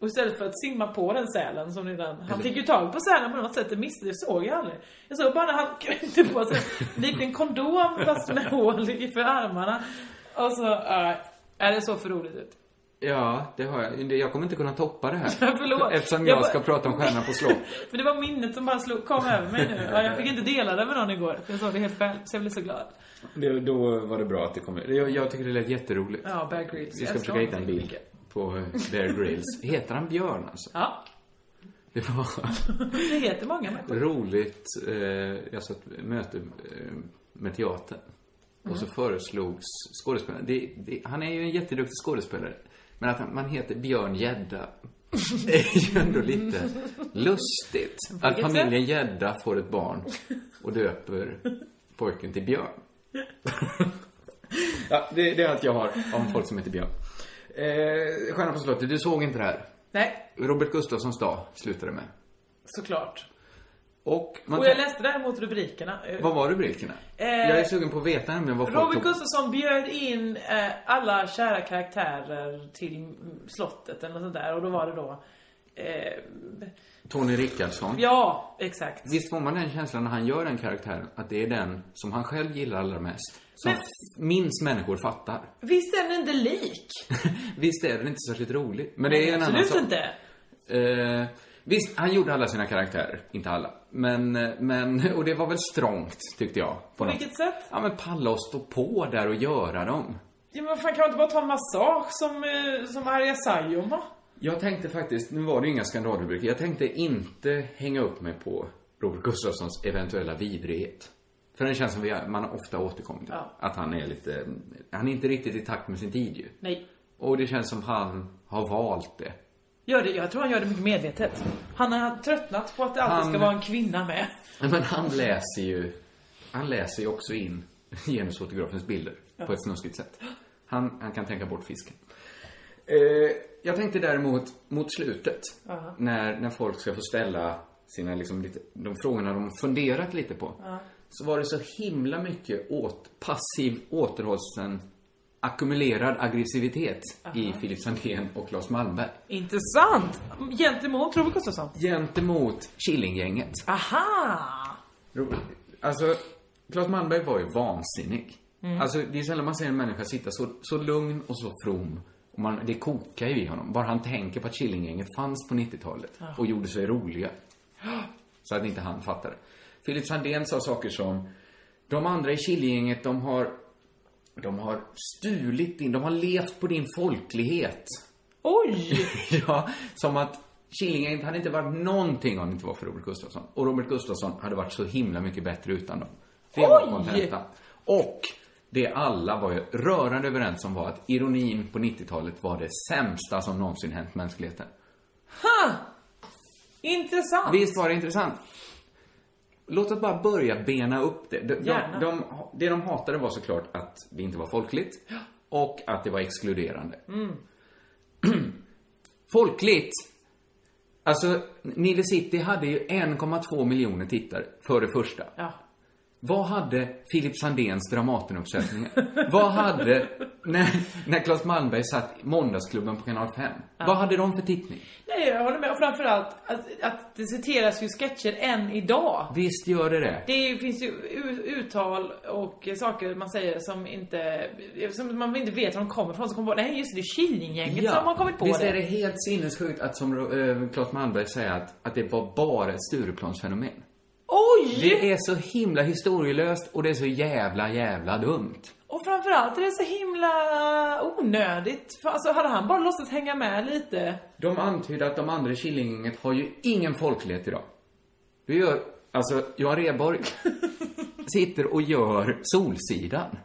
Speaker 8: Och istället för att simma på den sälen som redan... Han
Speaker 9: Eller-
Speaker 8: fick ju tag på sälen på något sätt, det missade det såg jag aldrig. Jag såg bara när han *laughs* knyckte på sig en liten kondom fast med hål i för armarna. Och så, äh, är det såg för roligt ut.
Speaker 9: Ja, det har jag. Jag kommer inte kunna toppa det här.
Speaker 8: *laughs* Förlåt.
Speaker 9: Eftersom
Speaker 8: Jag
Speaker 9: jag
Speaker 8: bara-
Speaker 9: ska prata om Stjärnan på slott.
Speaker 8: Men det var minnet som bara slog, kom över mig nu. Ja, jag fick inte dela det med någon igår, för jag såg det helt själv, så jag blev så glad.
Speaker 9: *laughs* Det, då var det bra att det kom Jag, jag tycker det lät jätteroligt.
Speaker 8: Ja, Bear Grylls.
Speaker 9: Vi
Speaker 8: Jag
Speaker 9: ska
Speaker 8: älskar
Speaker 9: försöka hitta en
Speaker 8: honom.
Speaker 9: bild på eh, Bear Grylls. Heter han Björn alltså?
Speaker 8: Ja. *laughs*
Speaker 9: Det var
Speaker 8: Det heter många människor.
Speaker 9: roligt. Eh, jag satt möte eh, med teatern. Och så
Speaker 8: Mhm.
Speaker 9: föreslogs skådespelaren. Det, det, han är ju en jätteduktig skådespelare. Men att han, man heter Björn *laughs* Gädda är ju ändå lite lustigt.
Speaker 8: På
Speaker 9: Att
Speaker 8: vilket
Speaker 9: familjen Gädda får ett barn och döper pojken till Björn. *laughs* ja, det, det är allt jag har om folk som heter Björn. Eh, Stjärnan på slottet, du såg inte det här.
Speaker 8: Nej,
Speaker 9: Robert Gustafssons dag slutade med.
Speaker 8: såklart.
Speaker 9: Och, man,
Speaker 8: Och jag läste däremot rubrikerna.
Speaker 9: vad var rubrikerna?
Speaker 8: Eh,
Speaker 9: jag är sugen på att veta nämligen vad folk
Speaker 8: Robert
Speaker 9: tog-
Speaker 8: Gustafsson bjöd in eh, alla kära karaktärer till mm, slottet eller något sånt där och då var det då... Eh,
Speaker 9: Tony Rickardsson.
Speaker 8: ja, exakt.
Speaker 9: Visst får man den känslan när han gör den karaktären, att det är den som han själv gillar allra mest. Som
Speaker 8: Men-
Speaker 9: f- minst människor fattar.
Speaker 8: Visst är den inte lik?
Speaker 9: Visst är den inte särskilt rolig, men *laughs* det är en annan
Speaker 8: Absolut
Speaker 9: sak.
Speaker 8: inte.
Speaker 9: Eh, visst, han gjorde alla sina karaktärer. Inte alla. Men, eh, men, *laughs* och det var väl strångt, tyckte jag.
Speaker 8: På
Speaker 9: något-
Speaker 8: vilket sätt?
Speaker 9: Ja, men palla och stå på där och göra dem.
Speaker 8: Ja, men fan kan man inte bara ta en massage som, eh, som Arja Saijonmaa?
Speaker 9: Jag tänkte faktiskt, nu var det ju inga skandalrubriker, jag tänkte inte hänga upp mig på Robert Gustafssons eventuella vidrighet. För den känns som vi, man ofta återkommer till.
Speaker 8: Ja.
Speaker 9: Att han är lite, han är inte riktigt i takt med sin tid ju.
Speaker 8: Nej.
Speaker 9: Och det känns som han har valt det.
Speaker 8: Gör det, jag tror han gör det mycket medvetet. Han har tröttnat på att det alltid
Speaker 9: Han-
Speaker 8: ska vara en kvinna med.
Speaker 9: Nej, Men han läser ju, han läser ju också in *laughs* genusfotografens bilder
Speaker 8: Ja.
Speaker 9: på ett snuskigt sätt. Han, han kan tänka bort fisken. Eh, jag tänkte däremot mot slutet,
Speaker 8: Ja.
Speaker 9: när, när folk ska få ställa sina, liksom, lite, de frågorna de funderat lite på.
Speaker 8: Ja.
Speaker 9: Så var det så himla mycket åt, passiv återhållsen, ackumulerad aggressivitet i Filip Sandén och Claes Malmberg.
Speaker 8: Intressant! Gentemot Robert Gustafsson.
Speaker 9: Gentemot Killinggänget.
Speaker 8: Aha!
Speaker 9: Ro- Alltså, Claes Malmberg var ju vansinnig.
Speaker 8: Mm.
Speaker 9: Alltså, det är sällan man ser en människa sitta så, så lugn och så from. Och man, det kokar ju i honom. Bara han tänker på att Killinggänget fanns på 90-talet
Speaker 8: Ja.
Speaker 9: och gjorde sig roliga. Så att inte han fattade. Filip Sandén sa saker som, de andra i Killinggänget, de har, de har stulit din, de har levt på din folklighet. *laughs*
Speaker 8: Oj!
Speaker 9: ja, som att Killinggänget hade inte varit någonting om det inte var för Robert Gustafsson. Och Robert Gustafsson hade varit så himla mycket bättre utan dem. Det var
Speaker 15: Oj!
Speaker 9: kontentan. Och det alla var ju rörande överens om var att ironin på 90-talet var det sämsta som någonsin hänt mänskligheten.
Speaker 8: Ha! Intressant.
Speaker 9: Visst var det intressant? Låt oss bara börja bena upp det. De, de,
Speaker 8: Gärna.
Speaker 9: de, det de hatade var såklart att det inte var folkligt och att det var exkluderande.
Speaker 8: Mm.
Speaker 9: *clears throat* Folkligt! Alltså, Nile City hade ju 1,2 miljoner tittare, för det första.
Speaker 8: Ja.
Speaker 9: Vad hade Filip Sandéns Dramatenuppsättning? *laughs* vad hade, när, när Claes Malmberg satt i Måndagsklubben på Kanal 5?
Speaker 8: Ja.
Speaker 9: Vad hade de för tittning?
Speaker 8: Nej, jag håller med. Och framförallt att, att det citeras ju sketcher än idag.
Speaker 9: Visst gör det det?
Speaker 8: Det är- finns ju u- uttal och eh, saker man säger som inte, som man inte vet var de kommer ifrån. Så kommer man på, nej just det, det är Killinggänget som har kommit på
Speaker 9: Visst
Speaker 8: det.
Speaker 9: är det helt sinnessjukt att som eh, Claes Malmberg säger att, att det var bara ett Stureplansfenomen.
Speaker 8: Oj!
Speaker 9: Det är så himla historielöst och det är så jävla, jävla dumt.
Speaker 8: Och framförallt är det så himla onödigt. För alltså hade han bara låtsats hänga med lite.
Speaker 9: De antydde att de andra i Killinggänget har ju ingen folklighet idag. Vi gör, alltså, Johan
Speaker 8: *laughs*
Speaker 9: Rheborg sitter och gör Solsidan.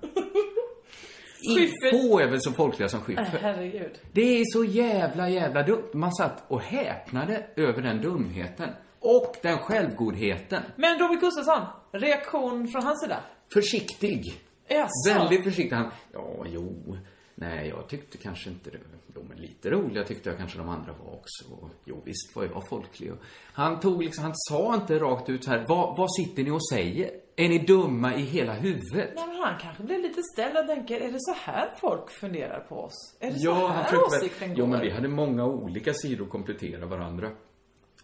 Speaker 8: Schyffert.
Speaker 9: Få är väl så folkliga som
Speaker 8: Äh,
Speaker 9: Schyffert.
Speaker 8: herregud.
Speaker 9: Det är så jävla, jävla dumt. Man satt och häpnade över den dumheten. Och den självgodheten.
Speaker 8: Men Robert Gustafsson, reaktion från hans sida?
Speaker 9: Försiktig.
Speaker 8: Jaså?
Speaker 9: Väldigt försiktig. Han, ja, jo. Nej, jag tyckte kanske inte det. De är lite roliga tyckte jag kanske de andra var också. Jo, visst var jag folklig. Och Han tog liksom, han sa inte rakt ut så här, vad, vad sitter ni och säger? Är ni dumma i hela huvudet?
Speaker 8: Nej men han kanske blev lite ställd och tänker, är det så här folk funderar på oss? Är det så
Speaker 9: Ja, han
Speaker 8: här
Speaker 9: försökte
Speaker 8: åsikten
Speaker 9: väl,
Speaker 8: går?
Speaker 9: Jo, men vi hade många olika sidor att komplettera varandra.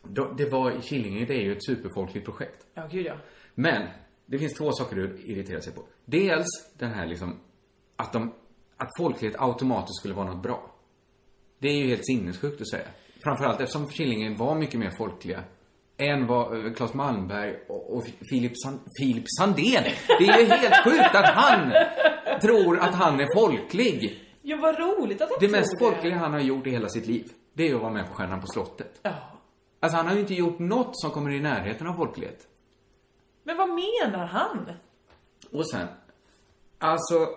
Speaker 9: Då- Det var, Killinge, det är ju ett superfolkligt projekt.
Speaker 8: Ja, gud ja.
Speaker 9: Men det finns två saker du irriterar sig på. Dels den här liksom att, de, att folklighet automatiskt skulle vara något bra. Det är ju helt sinnessjukt att säga. Framförallt eftersom Killinge var mycket mer folkliga än vad eh, Claes Malmberg och, och Filip, San, Filip Sandén. Det är ju helt sjukt att han tror att han är folklig.
Speaker 8: Ja, vad roligt att han
Speaker 9: Det
Speaker 8: tror
Speaker 9: mest folkliga han har gjort i hela sitt liv, det är att vara med på Stjärnan på slottet.
Speaker 8: Ja.
Speaker 9: Alltså han har ju inte gjort något som kommer i närheten av folklighet.
Speaker 8: Men vad menar han?
Speaker 9: Och sen, alltså,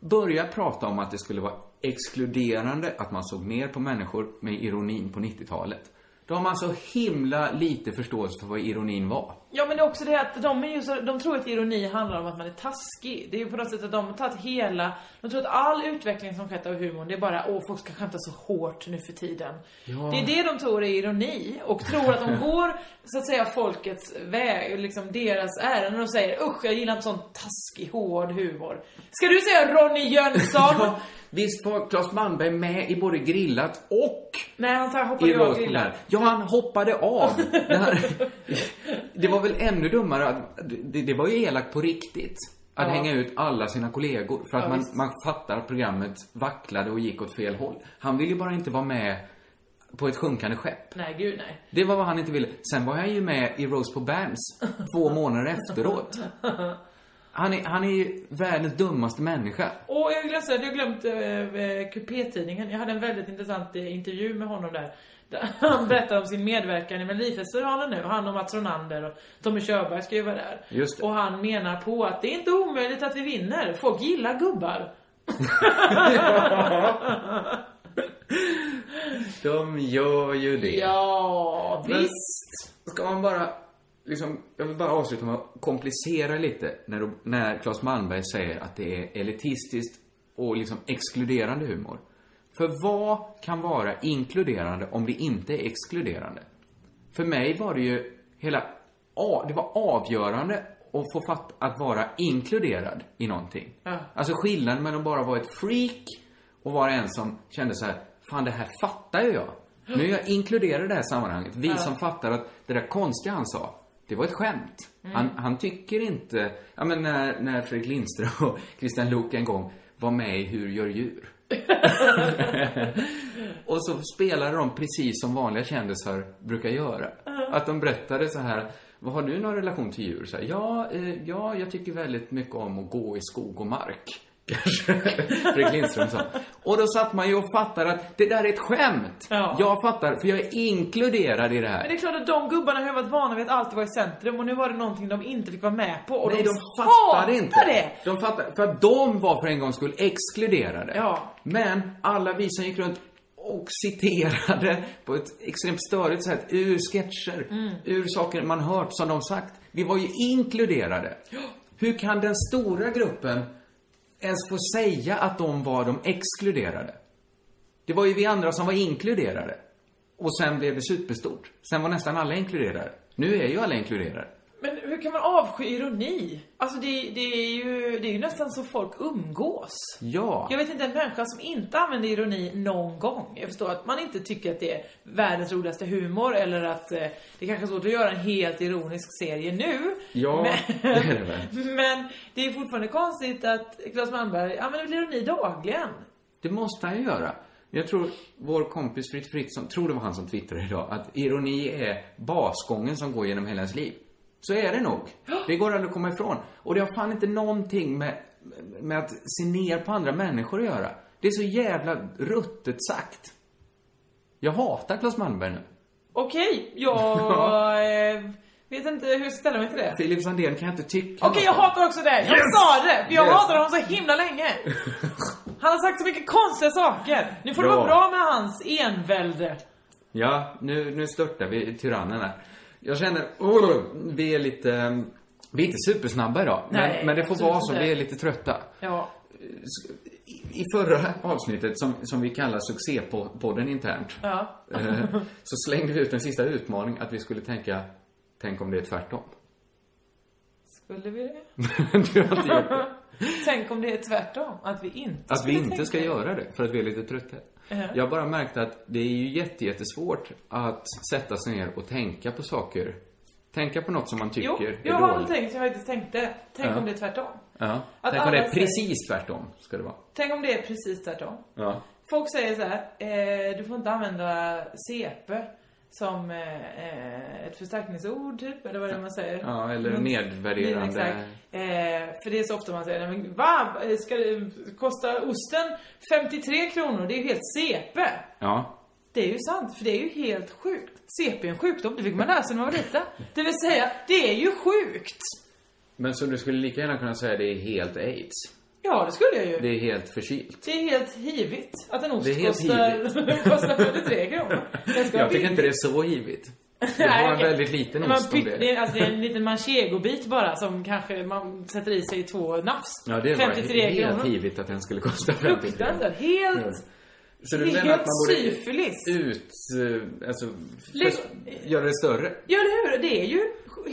Speaker 9: börja prata om att det skulle vara exkluderande att man såg ner på människor med ironin på 90-talet. Då har man så himla lite förståelse för vad ironin var.
Speaker 8: Ja men det är också det att de är ju så, de tror att ironi handlar om att man är taskig. Det är ju på något sätt att de har tagit hela, de tror att all utveckling som skett av humorn, det är bara åh folk ska skämta så hårt nu för tiden.
Speaker 9: Ja.
Speaker 8: Det är det de tror är ironi och tror att de går så att säga folkets väg, liksom deras ärenden och säger usch jag gillar inte sån taskig hård humor. Ska du säga Ronny Jönsson?
Speaker 9: Ja, visst var Claes Malmberg med i både Grillat och
Speaker 8: Nej han tar- hoppade ju av
Speaker 9: Eros
Speaker 8: grillen.
Speaker 9: Polar. Ja, han hoppade av. Det, här, *laughs* det var väl ännu dummare att, det, det var ju elakt på riktigt. Att
Speaker 8: Ja.
Speaker 9: hänga ut alla sina kollegor. För att
Speaker 8: Ja,
Speaker 9: man,
Speaker 8: visst.
Speaker 9: man fattar att programmet vacklade och gick åt fel håll. Han ville ju bara inte vara med på ett sjunkande skepp.
Speaker 8: Nej gud nej.
Speaker 9: Det var vad han inte ville. Sen var han ju med i Rose på
Speaker 8: *laughs*
Speaker 9: Bams två månader efteråt. Han är, han är ju världens dummaste människa.
Speaker 8: Och jag glömde, jag glömt eh, eh, QP-tidningen. Jag hade en väldigt intressant eh, intervju med honom där. Där *laughs* han berättade om sin medverkan i Melodifestivalen nu. Han och Mats Ronander och Tommy Körberg ska ju vara där.
Speaker 9: Just det.
Speaker 8: Och han menar på att det är inte omöjligt att vi vinner. Folk
Speaker 9: *laughs*
Speaker 8: gillar gubbar.
Speaker 9: De gör ju det.
Speaker 8: Ja,
Speaker 9: Men-
Speaker 8: visst.
Speaker 9: Ska man bara, liksom, jag vill bara avsluta med att komplicera lite när, när Claes Malmberg säger att det är elitistiskt och liksom exkluderande humor. För vad kan vara inkluderande om det inte är exkluderande? För mig var det ju hela, a- det var avgörande att få fatt, att vara inkluderad i någonting.
Speaker 8: Ja.
Speaker 9: Alltså skillnaden mellan att bara vara ett freak och vara en som kände så här, fan det här fattar ju jag. Nu är jag inkluderad i det här sammanhanget. Vi
Speaker 8: Ja.
Speaker 9: som fattar att det där konstiga han sa, det var ett skämt.
Speaker 8: Mm.
Speaker 9: Han, han tycker inte, ja men när, när Fredrik Lindström och Christian Luuk en gång var med i Hur gör djur? och så spelade de precis som vanliga kändisar brukar göra. Att de berättade så här, vad har du någon relation till djur? Så här, ja, eh, ja, jag tycker väldigt mycket om att gå i skog och mark. *laughs* Kanske Fredrik Lindström sa. Och då satt man ju och fattade att det där är ett skämt. Jag fattar, för jag är inkluderad i det
Speaker 8: Men
Speaker 9: här.
Speaker 8: det är klart att de gubbarna har ju varit vana vid att alltid vara i centrum och nu var det någonting de inte fick vara med på och
Speaker 9: Nej,
Speaker 8: de,
Speaker 9: de fattade
Speaker 8: hatar
Speaker 9: inte.
Speaker 8: det!
Speaker 9: De fattade, för att de var för en gångs skull exkluderade.
Speaker 8: Ja.
Speaker 9: Men alla vi som gick runt och citerade på ett extremt störigt sätt ur sketcher,
Speaker 8: Mm.
Speaker 9: ur saker man hört som de sagt. Vi var ju inkluderade. Hur kan den stora gruppen ens få säga att de var de exkluderade? Det var ju vi andra som var inkluderade. Och sen blev det superstort. Sen var nästan alla inkluderade. Nu är ju alla inkluderade.
Speaker 8: Men hur kan man avsky ironi? Alltså det, det, är, ju, det är ju nästan så folk umgås.
Speaker 9: Ja.
Speaker 8: Jag vet inte en människa som inte använder ironi någon gång. Jag förstår att man inte tycker att det är världens roligaste humor eller att eh, det kanske är svårt att göra en helt ironisk serie nu.
Speaker 9: Ja, det
Speaker 8: men,
Speaker 9: är det väl.
Speaker 8: *laughs* men det är fortfarande konstigt att Claes Malmberg använder ironi dagligen.
Speaker 9: Det måste han ju göra. Jag tror vår kompis Fritt Fritzson, tror det var han som twittrade idag, att ironi är basgången som går genom hela ens liv. Så är det nog. Det går aldrig att komma ifrån. Och det har fan inte någonting med, med att se ner på andra människor att göra. Det är så jävla ruttet sagt. Jag hatar Claes Malmberg nu.
Speaker 8: Okej,
Speaker 9: *laughs* Ja.
Speaker 8: jag eh, vet inte hur jag ska ställa mig till det.
Speaker 9: Filip Sandén kan jag inte tycka
Speaker 8: Okej, jag
Speaker 9: något om.
Speaker 8: hatar också det. Jag
Speaker 9: Yes!
Speaker 8: sa det! För jag
Speaker 9: Yes.
Speaker 8: hatar honom så himla
Speaker 9: *laughs*
Speaker 8: länge. Han har sagt så mycket konstiga saker. Nu får det
Speaker 9: Ja.
Speaker 8: vara bra med hans envälde.
Speaker 9: Ja, nu, nu störtar vi tyrannen här. Jag känner, oh, vi är lite, eh, vi är inte supersnabba idag.
Speaker 8: Nej,
Speaker 9: men, men det får
Speaker 8: absolut
Speaker 9: vara så,
Speaker 8: inte.
Speaker 9: vi är lite trötta.
Speaker 8: Ja.
Speaker 9: I, I förra avsnittet, som, som vi kallar succépodden internt,
Speaker 8: Ja.
Speaker 9: eh, så slängde vi ut en sista utmaning att vi skulle tänka, tänk om det är tvärtom. *laughs*
Speaker 8: Skulle vi det?
Speaker 9: du har inte
Speaker 8: *laughs*
Speaker 9: gjort det.
Speaker 8: Tänk om det är tvärtom. Att vi inte
Speaker 9: Att vi
Speaker 8: skulle
Speaker 9: inte ska
Speaker 8: tänka.
Speaker 9: göra det, för att vi är lite trötta.
Speaker 8: Ja.
Speaker 9: Jag har bara märkt att det är ju jätte, jättesvårt att sätta sig ner och tänka på saker. Tänka på något som man tycker
Speaker 8: Jo,
Speaker 9: är
Speaker 8: jag har
Speaker 9: dåligt.
Speaker 8: någonting som jag faktiskt tänkte. Tänk
Speaker 9: Ja.
Speaker 8: om det är tvärtom.
Speaker 9: Ja.
Speaker 8: Att
Speaker 9: Tänk om det
Speaker 8: alla
Speaker 9: är
Speaker 8: säger-
Speaker 9: precis tvärtom, ska det vara.
Speaker 8: Tänk om det är precis tvärtom.
Speaker 9: Ja.
Speaker 8: Folk säger så här, eh, du får inte använda CP som eh, eh, ett förstärkningsord typ, eller vad är det man säger?
Speaker 9: Ja, eller
Speaker 8: Men-
Speaker 9: nedvärderande.
Speaker 8: Exakt. Eh, för det är så ofta man säger, nej men va? Ska det, kostar osten 53 kronor? Det är ju helt CP.
Speaker 9: Ja.
Speaker 8: Det är ju sant, för det är ju helt sjukt. CP är en sjukdom, det fick man lära sig när man var liten. Det vill säga, det är ju sjukt!
Speaker 9: Men så du skulle lika gärna kunna säga det är helt aids.
Speaker 8: Ja, det skulle jag ju.
Speaker 9: Det är helt förkylt.
Speaker 8: Det är helt hivigt att en ost
Speaker 9: Det är helt
Speaker 8: kostar, *laughs* kostar 53 kronor. Den ska vara
Speaker 9: Jag tycker
Speaker 8: billig.
Speaker 9: inte det är så hivigt. Det
Speaker 8: Nej,
Speaker 9: var en
Speaker 8: okej.
Speaker 9: väldigt liten
Speaker 8: Men man
Speaker 9: ost om
Speaker 8: pytt-
Speaker 9: det.
Speaker 8: Alltså det är en liten manchegobit bara som kanske man sätter i sig i två nafs.
Speaker 9: Ja, det var
Speaker 8: 53
Speaker 9: helt
Speaker 8: kronor.
Speaker 9: hivigt att den skulle kosta 53
Speaker 8: Fruktansvärt. Helt...
Speaker 9: Så du
Speaker 8: Det är
Speaker 9: menar att
Speaker 8: helt
Speaker 9: man borde
Speaker 8: syfilis.
Speaker 9: ut, eh, alltså,
Speaker 8: Lägg-
Speaker 9: för, göra det större?
Speaker 8: Ja, eller hur? Det är ju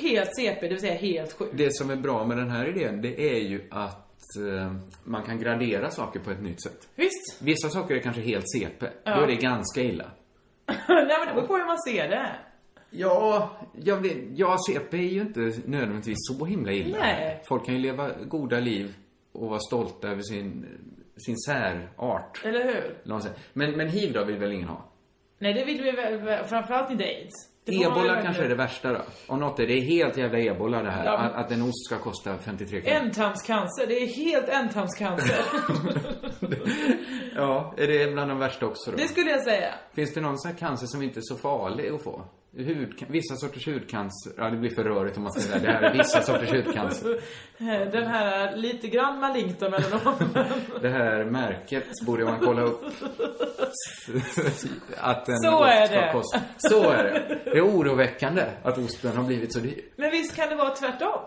Speaker 8: helt CP, det vill säga helt sjukt.
Speaker 9: Det som är bra med den här idén, det är ju att eh, man kan gradera saker på ett nytt sätt.
Speaker 8: Visst? *laughs*
Speaker 9: Vissa saker är kanske helt CP.
Speaker 8: Ja.
Speaker 9: Då är det ganska illa.
Speaker 8: Nej, men det beror på hur man ser det.
Speaker 9: Ja, jag vet, ja, CP är ju inte nödvändigtvis så himla illa.
Speaker 8: Nej.
Speaker 9: Folk kan ju leva goda liv och vara stolta över sin, sin särart.
Speaker 8: Eller hur?
Speaker 9: Eller vad man säger. Men, men hiv då vill väl ingen ha?
Speaker 8: Nej, det vill vi väl, väl- framförallt inte aids. Det får man väl
Speaker 9: Ebola
Speaker 8: verkligen-
Speaker 9: kanske är det värsta då. Om något är det är helt jävla ebola det här.
Speaker 8: Ja, men-
Speaker 9: Att, att en ost ska kosta 53 kronor.
Speaker 8: Ändtarmscancer, det är helt ändtarmscancer.
Speaker 9: *laughs* Ja, är det bland de värsta också då?
Speaker 8: det skulle jag säga.
Speaker 9: Finns det någon sån här cancer som inte är så farlig att få? Hud, vissa sorters hudcancer. Ja, det blir för rörigt om man säger det här är vissa sorters hudcancer.
Speaker 8: *laughs* Den här lite grann malignt om eller
Speaker 9: Det här märket borde man kolla upp. Typ, Att en
Speaker 8: Så
Speaker 9: ost
Speaker 8: är
Speaker 9: ska
Speaker 8: det.
Speaker 9: kosta. Så är det. Det är oroväckande att osten har blivit så dyr.
Speaker 8: Men visst kan det vara tvärtom?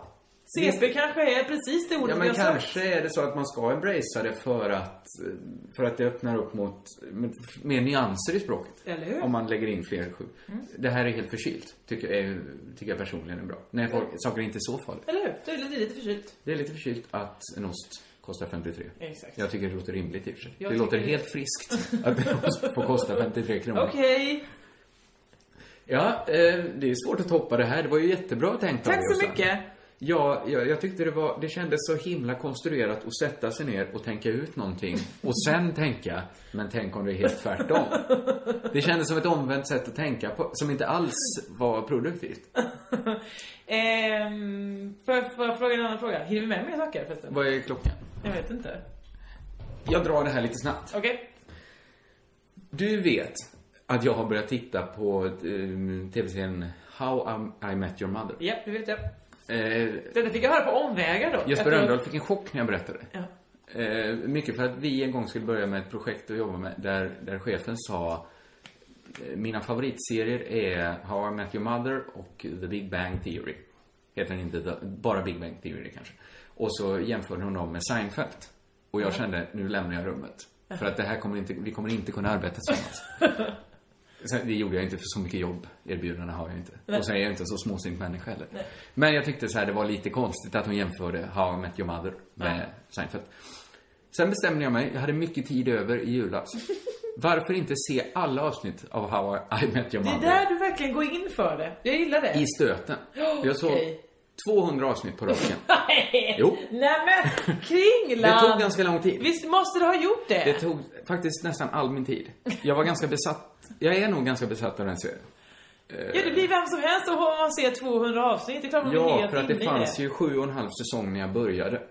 Speaker 8: CP kanske är precis det ordet
Speaker 9: Ja, men
Speaker 8: vi har sagt.
Speaker 9: kanske är det så att man ska embracea det för att, för att det öppnar upp mot med- mer nyanser i språket.
Speaker 8: Eller hur?
Speaker 9: Om man lägger in fler sju.
Speaker 8: Mm.
Speaker 9: Det här är helt förkylt, tycker jag, är, tycker jag personligen är bra. När folk, saker är inte så farligt.
Speaker 8: Eller hur? Det är lite, lite förkylt.
Speaker 9: Det är lite förkylt att en ost kostar 53.
Speaker 8: Exakt.
Speaker 9: Jag tycker det låter rimligt i och för sig.
Speaker 8: Jag
Speaker 9: Det låter
Speaker 8: tycker-
Speaker 9: helt friskt att en ost får kosta 53 kronor.
Speaker 8: Okej.
Speaker 9: Ja, eh, det är svårt att toppa det här. Det var ju jättebra tänkt av
Speaker 8: Tack
Speaker 9: dig,
Speaker 8: så
Speaker 9: Åsa.
Speaker 8: mycket.
Speaker 9: Ja, jag, jag tyckte det var, det kändes så himla konstruerat att sätta sig ner och tänka ut någonting och sen tänka, men tänk om det är helt tvärtom. Det
Speaker 8: *laughs*
Speaker 9: kändes som ett omvänt sätt att tänka på, som inte alls var produktivt.
Speaker 8: Ehm, får, jag, får jag fråga en annan fråga? Hinner vi med mer saker förresten?
Speaker 9: Vad är klockan?
Speaker 8: Jag vet inte.
Speaker 9: Jag drar det här lite snabbt.
Speaker 8: Okej.
Speaker 9: Du vet att jag har börjat titta på eh, tv-serien How I- I Met Your Mother.
Speaker 8: Ja, det vet jag.
Speaker 9: Eh,
Speaker 8: Detta fick jag höra på omvägar då.
Speaker 9: Jesper
Speaker 8: Att-
Speaker 9: Rönndahl fick en chock när jag berättade det.
Speaker 8: Ja.
Speaker 9: Eh, mycket för att vi en gång skulle börja med ett projekt att jobba med där, där chefen sa eh, mina favoritserier är How I Met Your Mother och The Big Bang Theory. Heter den inte The- bara Big Bang Theory kanske. Och så jämförde hon dem med Seinfeld. Och jag
Speaker 8: Ja.
Speaker 9: kände, nu lämnar jag rummet. För att det här kommer inte, vi kommer inte kunna arbeta tillsammans. Sen, det gjorde jag inte för så mycket jobb erbjudanden har jag inte.
Speaker 8: Nej.
Speaker 9: Och sen är jag inte en så småsint människa heller.
Speaker 8: Nej.
Speaker 9: Men jag tyckte så här, det var lite konstigt att hon jämförde How I Met Your Mother med
Speaker 8: Ja.
Speaker 9: Seinfeld. Sen bestämde jag mig, jag hade mycket tid över i
Speaker 8: *laughs*
Speaker 9: julas. Varför inte se alla avsnitt av How I Met Your
Speaker 8: Det är
Speaker 9: Mother
Speaker 8: där du verkligen går in för det. Jag gillar det.
Speaker 9: i stöten?
Speaker 8: Ja,
Speaker 9: Jag såg
Speaker 8: *laughs* okej.
Speaker 9: 200 avsnitt på
Speaker 8: *laughs*
Speaker 9: raken.
Speaker 8: Nej!
Speaker 9: Jo.
Speaker 8: Nej men, kringlan!
Speaker 9: Det tog ganska lång tid.
Speaker 8: Visst måste du ha gjort det?
Speaker 9: Det tog faktiskt nästan all min tid. Jag var ganska besatt, jag är nog ganska besatt av den serien.
Speaker 8: Ja, det blir vem som helst som får man se 200 avsnitt. Det är klart man blir
Speaker 9: Ja,
Speaker 8: helt
Speaker 9: för att
Speaker 8: inne
Speaker 9: det
Speaker 8: i
Speaker 9: fanns ju sju och en halv säsong när jag började.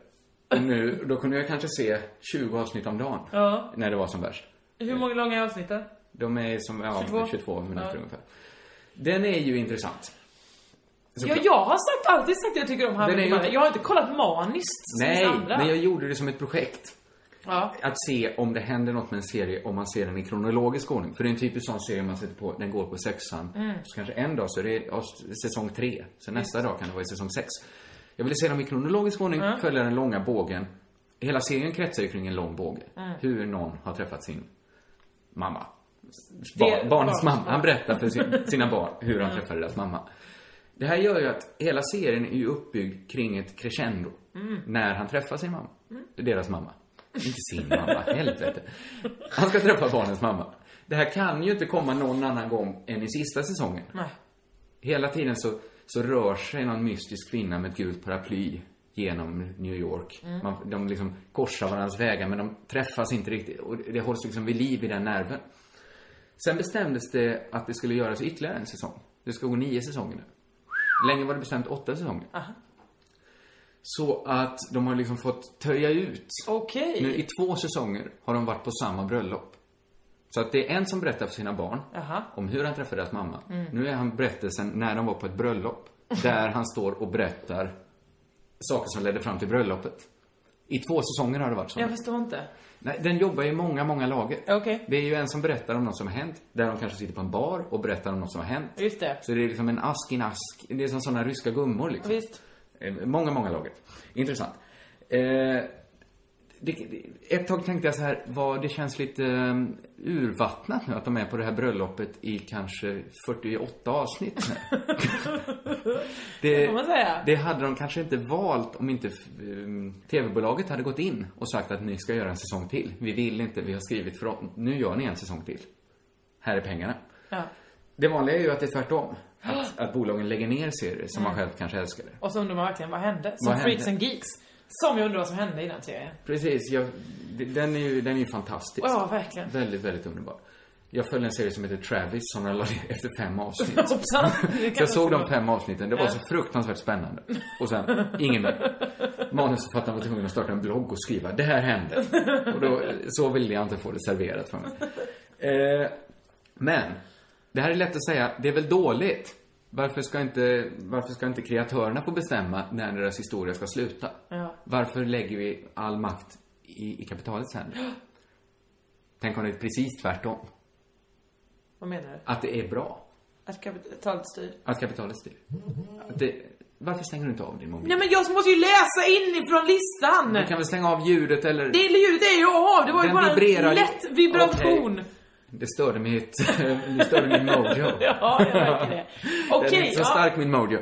Speaker 9: Och nu, då kunde jag kanske se 20 avsnitt om dagen.
Speaker 8: Ja.
Speaker 9: När det var som värst.
Speaker 8: Hur många långa är avsnitten?
Speaker 9: De är som, ja,
Speaker 8: 22.
Speaker 9: 22, minuter
Speaker 8: Ja.
Speaker 9: ungefär. Den är ju intressant. Så-
Speaker 8: Ja, jag har sagt, alltid sagt att jag tycker om How I
Speaker 9: Den är
Speaker 8: Met Your
Speaker 9: ju-
Speaker 8: Mother. Jag har inte kollat maniskt som
Speaker 9: Nej,
Speaker 8: vissa andra.
Speaker 9: men jag gjorde det som ett projekt.
Speaker 8: Ja.
Speaker 9: Att se om det händer något med en serie om man ser den i kronologisk ordning. För det är en typisk sån serie man sätter på, den går på sexan.
Speaker 8: Mm.
Speaker 9: Så kanske en dag så är det avs- säsong tre. Sen nästa dag kan det vara i säsong sex. Jag ville se dem i kronologisk ordning, följa den långa bågen. Hela serien kretsar ju kring en lång båge.
Speaker 8: Mm.
Speaker 9: Hur någon har träffat sin mamma.
Speaker 8: Det-
Speaker 9: Bar, barnets
Speaker 8: barnets
Speaker 9: mamma.
Speaker 8: mamma.
Speaker 9: Han berättar för
Speaker 8: *laughs*
Speaker 9: sin, sina barn hur han träffade deras mamma. Det här gör ju att hela serien är ju uppbyggd kring ett crescendo.
Speaker 8: Mm.
Speaker 9: När han träffar sin mamma. Deras mamma. Inte sin mamma,
Speaker 8: *laughs*
Speaker 9: helvete. Han ska träffa barnens mamma. Det här kan ju inte komma någon annan gång än i sista säsongen.
Speaker 8: Nej.
Speaker 9: Hela tiden så, så rör sig någon mystisk kvinna med ett gult paraply genom New York.
Speaker 8: Mm.
Speaker 9: Man, de liksom korsar varandras vägar men de träffas inte riktigt och det hålls liksom vid liv i den nerven. Sen bestämdes det att det skulle göras ytterligare en säsong. Det ska gå nio säsonger nu. Länge var det bestämt åtta säsonger.
Speaker 8: Aha.
Speaker 9: Så att de har liksom fått töja ut.
Speaker 8: Okej.
Speaker 9: Nu i två säsonger har de varit på samma bröllop. Så att det är en som berättar för sina barn
Speaker 8: Jaha.
Speaker 9: om hur han träffade deras mamma.
Speaker 8: Mm.
Speaker 9: Nu är han berättelsen när de var på ett bröllop. Där han står och berättar saker som ledde fram till bröllopet. I två säsonger har det varit så.
Speaker 8: Jag förstår inte.
Speaker 9: Nej, den jobbar i många, många lager.
Speaker 8: Okej.
Speaker 9: Det är ju en som berättar om något som har hänt, där de kanske sitter på en bar och berättar om något som har hänt.
Speaker 8: Just det.
Speaker 9: Så det är liksom en ask i en ask. Det är som sådana ryska gummor liksom.
Speaker 8: Visst.
Speaker 9: Eh, Många, många lager. Intressant. Eh, det, det, ett tag tänkte jag så här, vad det känns lite eh, urvattnat nu att de är på det här bröllopet i kanske 48 avsnitt nu.
Speaker 8: *laughs* Det får man säga.
Speaker 9: det hade de kanske inte valt om inte eh, TV-bolaget hade gått in och sagt att ni ska göra en säsong till. Vi vill inte, vi har skrivit för nu gör ni en säsong till. Här är pengarna.
Speaker 8: Ja.
Speaker 9: Det vanliga är ju att det är tvärtom. Att, att bolagen lägger ner serier som man
Speaker 8: Mm.
Speaker 9: själv kanske älskade.
Speaker 8: Och så undrar man verkligen vad hände? Som
Speaker 9: Vad hände?
Speaker 8: Freaks and Geeks. Som jag undrar vad som hände i den serien.
Speaker 9: Precis, jag, d- den är ju den är ju fantastisk.
Speaker 8: Ja, verkligen.
Speaker 9: Väldigt, väldigt underbar. Jag följde en serie som heter Travis som jag la ner *laughs* efter fem avsnitt.
Speaker 8: *laughs* Hoppsan. Det
Speaker 9: Så jag
Speaker 8: kanske
Speaker 9: såg
Speaker 8: skulle
Speaker 9: de fem avsnitten, det var
Speaker 8: Ja.
Speaker 9: så fruktansvärt spännande. Och sen, ingen mer. Manusförfattaren var tvungen att starta en blogg och skriva, det här hände. Och då, så ville jag inte få det serverat för mig. Eh, men, det här är lätt att säga, det är väl dåligt. Varför ska inte, varför ska inte kreatörerna få bestämma när deras historia ska sluta?
Speaker 8: Ja.
Speaker 9: Varför lägger vi all makt i, i kapitalets händer? Tänk om det är precis tvärtom.
Speaker 8: Vad menar du?
Speaker 9: Att det är bra.
Speaker 8: Att kapitalet styr?
Speaker 9: Att kapitalet styr.
Speaker 8: Mm-hmm.
Speaker 9: Att det, varför stänger du inte av din mobil?
Speaker 8: Nej men jag måste ju läsa inifrån listan!
Speaker 9: Du kan väl stänga av ljudet eller...
Speaker 8: Det ljudet är ju av, det var ju
Speaker 9: Den
Speaker 8: bara
Speaker 9: vibrerar
Speaker 8: en
Speaker 9: ju.
Speaker 8: lätt vibration.
Speaker 9: Okej. Det störde mitt... *laughs* det störde min mojo.
Speaker 8: *laughs* Ja, jag märker det.
Speaker 9: *laughs* Den är
Speaker 8: Okej,
Speaker 9: inte så
Speaker 8: ja.
Speaker 9: stark min mojo.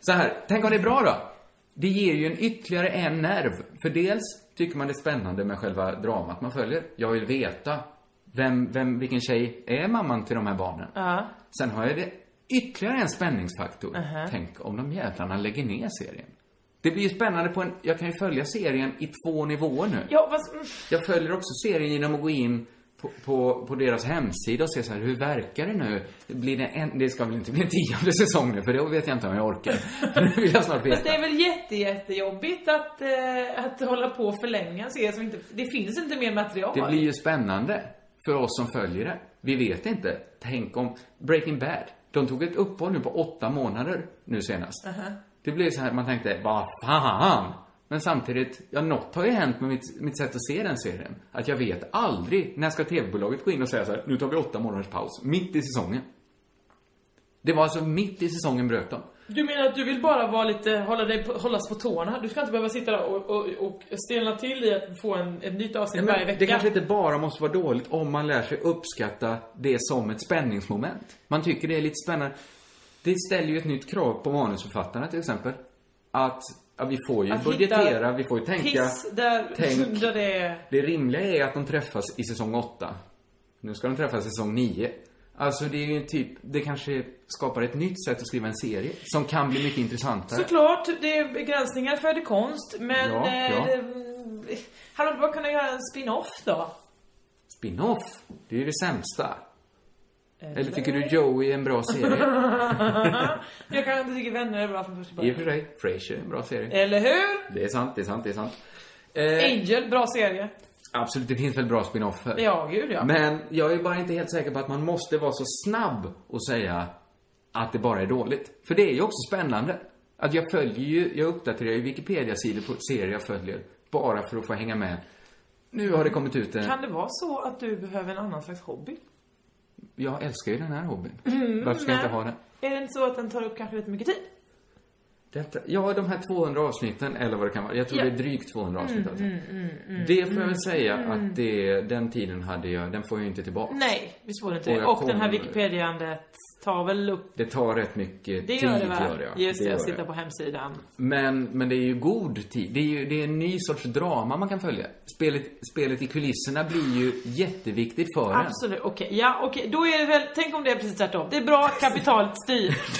Speaker 9: Så här, tänk om det är bra då? Det ger ju en ytterligare en nerv. För dels tycker man det är spännande med själva dramat man följer. Jag vill veta vem, vem, vilken tjej är mamman till de här barnen?
Speaker 8: Ja.
Speaker 9: Sen har jag det ytterligare en spänningsfaktor.
Speaker 8: Mhm.
Speaker 9: Tänk om de jävlarna lägger ner serien. Det blir ju spännande på en... Jag kan ju följa serien i två nivåer nu.
Speaker 8: Ja, fast, mm,
Speaker 9: Jag följer också serien genom att gå in på, på, på deras hemsida och se så här, hur verkar det nu? Blir det en, det ska väl inte bli en tionde säsong nu, för det vet jag inte om jag orkar. *laughs* det vill jag snart veta.
Speaker 8: Fast det är väl jätte, jättejobbigt att, eh, att hålla på och förlänga en serie som inte... Det finns inte mer material.
Speaker 9: Det blir ju spännande för oss som följer det. Vi vet inte. Tänk om Breaking Bad. De tog ett uppehåll nu på åtta månader nu senast.
Speaker 8: Uh-huh.
Speaker 9: Det blev så här, man tänkte, vad fan? Men samtidigt, ja, något har ju hänt med mitt, mitt sätt att se den serien. Att jag vet aldrig, när ska TV-bolaget gå in och säga så här, nu tar vi åtta månaders paus, mitt i säsongen. Det var alltså mitt i säsongen bröt de.
Speaker 8: Du menar att du vill bara vara lite, hålla dig, på- hållas på tårna? Du ska inte behöva sitta där och, och, och stelna till i att få en, ett nytt avsnitt
Speaker 9: Ja, men
Speaker 8: varje vecka?
Speaker 9: Det kanske inte bara måste vara dåligt om man lär sig uppskatta det som ett spänningsmoment. Man tycker det är lite spännande. Det ställer ju ett nytt krav på manusförfattarna till exempel. Att, ja, vi får ju
Speaker 8: Att
Speaker 9: budgetera,
Speaker 8: hitta
Speaker 9: vi får ju tänka.
Speaker 8: Piss där,
Speaker 9: Tänk.
Speaker 8: *laughs* där det är...
Speaker 9: Det rimliga är att de träffas i säsong 8. Nu ska de träffas i säsong 9. Alltså det är ju typ, det kanske skapar ett nytt sätt att skriva en serie som kan bli mycket intressantare.
Speaker 8: Såklart, det är begränsningar för det konst, men...
Speaker 9: Ja,
Speaker 8: eh,
Speaker 9: ja.
Speaker 8: det- Hade man bara kunnat göra en spin-off då?
Speaker 9: Spin-off, det är ju det sämsta. Eller,
Speaker 8: Eller?
Speaker 9: tycker du Joey är en bra
Speaker 8: *laughs*
Speaker 9: serie?
Speaker 8: jag kanske inte tycker vänner är bra från första
Speaker 9: I och för
Speaker 8: början.
Speaker 9: sig, Frasier är en bra serie.
Speaker 8: Eller hur?
Speaker 9: Det är sant, det är sant, det är sant. Eh,
Speaker 8: Angel, bra serie.
Speaker 9: absolut, det finns väl bra spin-offer.
Speaker 8: Ja, gud ja.
Speaker 9: Men jag är bara inte helt säker på att man måste vara så snabb och säga att det bara är dåligt. För det är ju också spännande. Att jag följer ju, jag uppdaterar ju Wikipedia-sidor på serier jag följer. Bara för att få hänga med. Nu har det kommit ut en...
Speaker 8: Kan det vara så att du behöver en annan slags hobby?
Speaker 9: Jag älskar ju den här hobbyn.
Speaker 8: Mm,
Speaker 9: Varför ska jag
Speaker 8: men-
Speaker 9: inte ha den?
Speaker 8: Är det inte så att den tar upp kanske lite mycket tid?
Speaker 9: Detta, ja, de här 200 avsnitten, eller vad det kan vara. Jag tror
Speaker 8: Ja.
Speaker 9: det är drygt 200 avsnitt alltså.
Speaker 8: mm, mm,
Speaker 9: Det får jag
Speaker 8: mm,
Speaker 9: väl säga
Speaker 8: mm.
Speaker 9: att det, den tiden hade jag, den får jag ju inte tillbaka.
Speaker 8: Nej, visst var det inte
Speaker 9: Och
Speaker 8: det.
Speaker 9: jag
Speaker 8: Och den här
Speaker 9: kommer-
Speaker 8: Wikipediandet tar väl upp...
Speaker 9: Det tar rätt mycket
Speaker 8: Det
Speaker 9: tid,
Speaker 8: gör det va?
Speaker 9: jag.
Speaker 8: Just det,
Speaker 9: gör
Speaker 8: jag sitter på hemsidan.
Speaker 9: Men, men det är ju god tid. Det är ju det är en ny sorts drama man kan följa. Spelet, spelet i kulisserna blir ju jätteviktigt för en.
Speaker 8: Absolut, okej. Ja, okej. Då är det väl, tänk om det är precis tvärtom. Det är bra, kapitalet styr.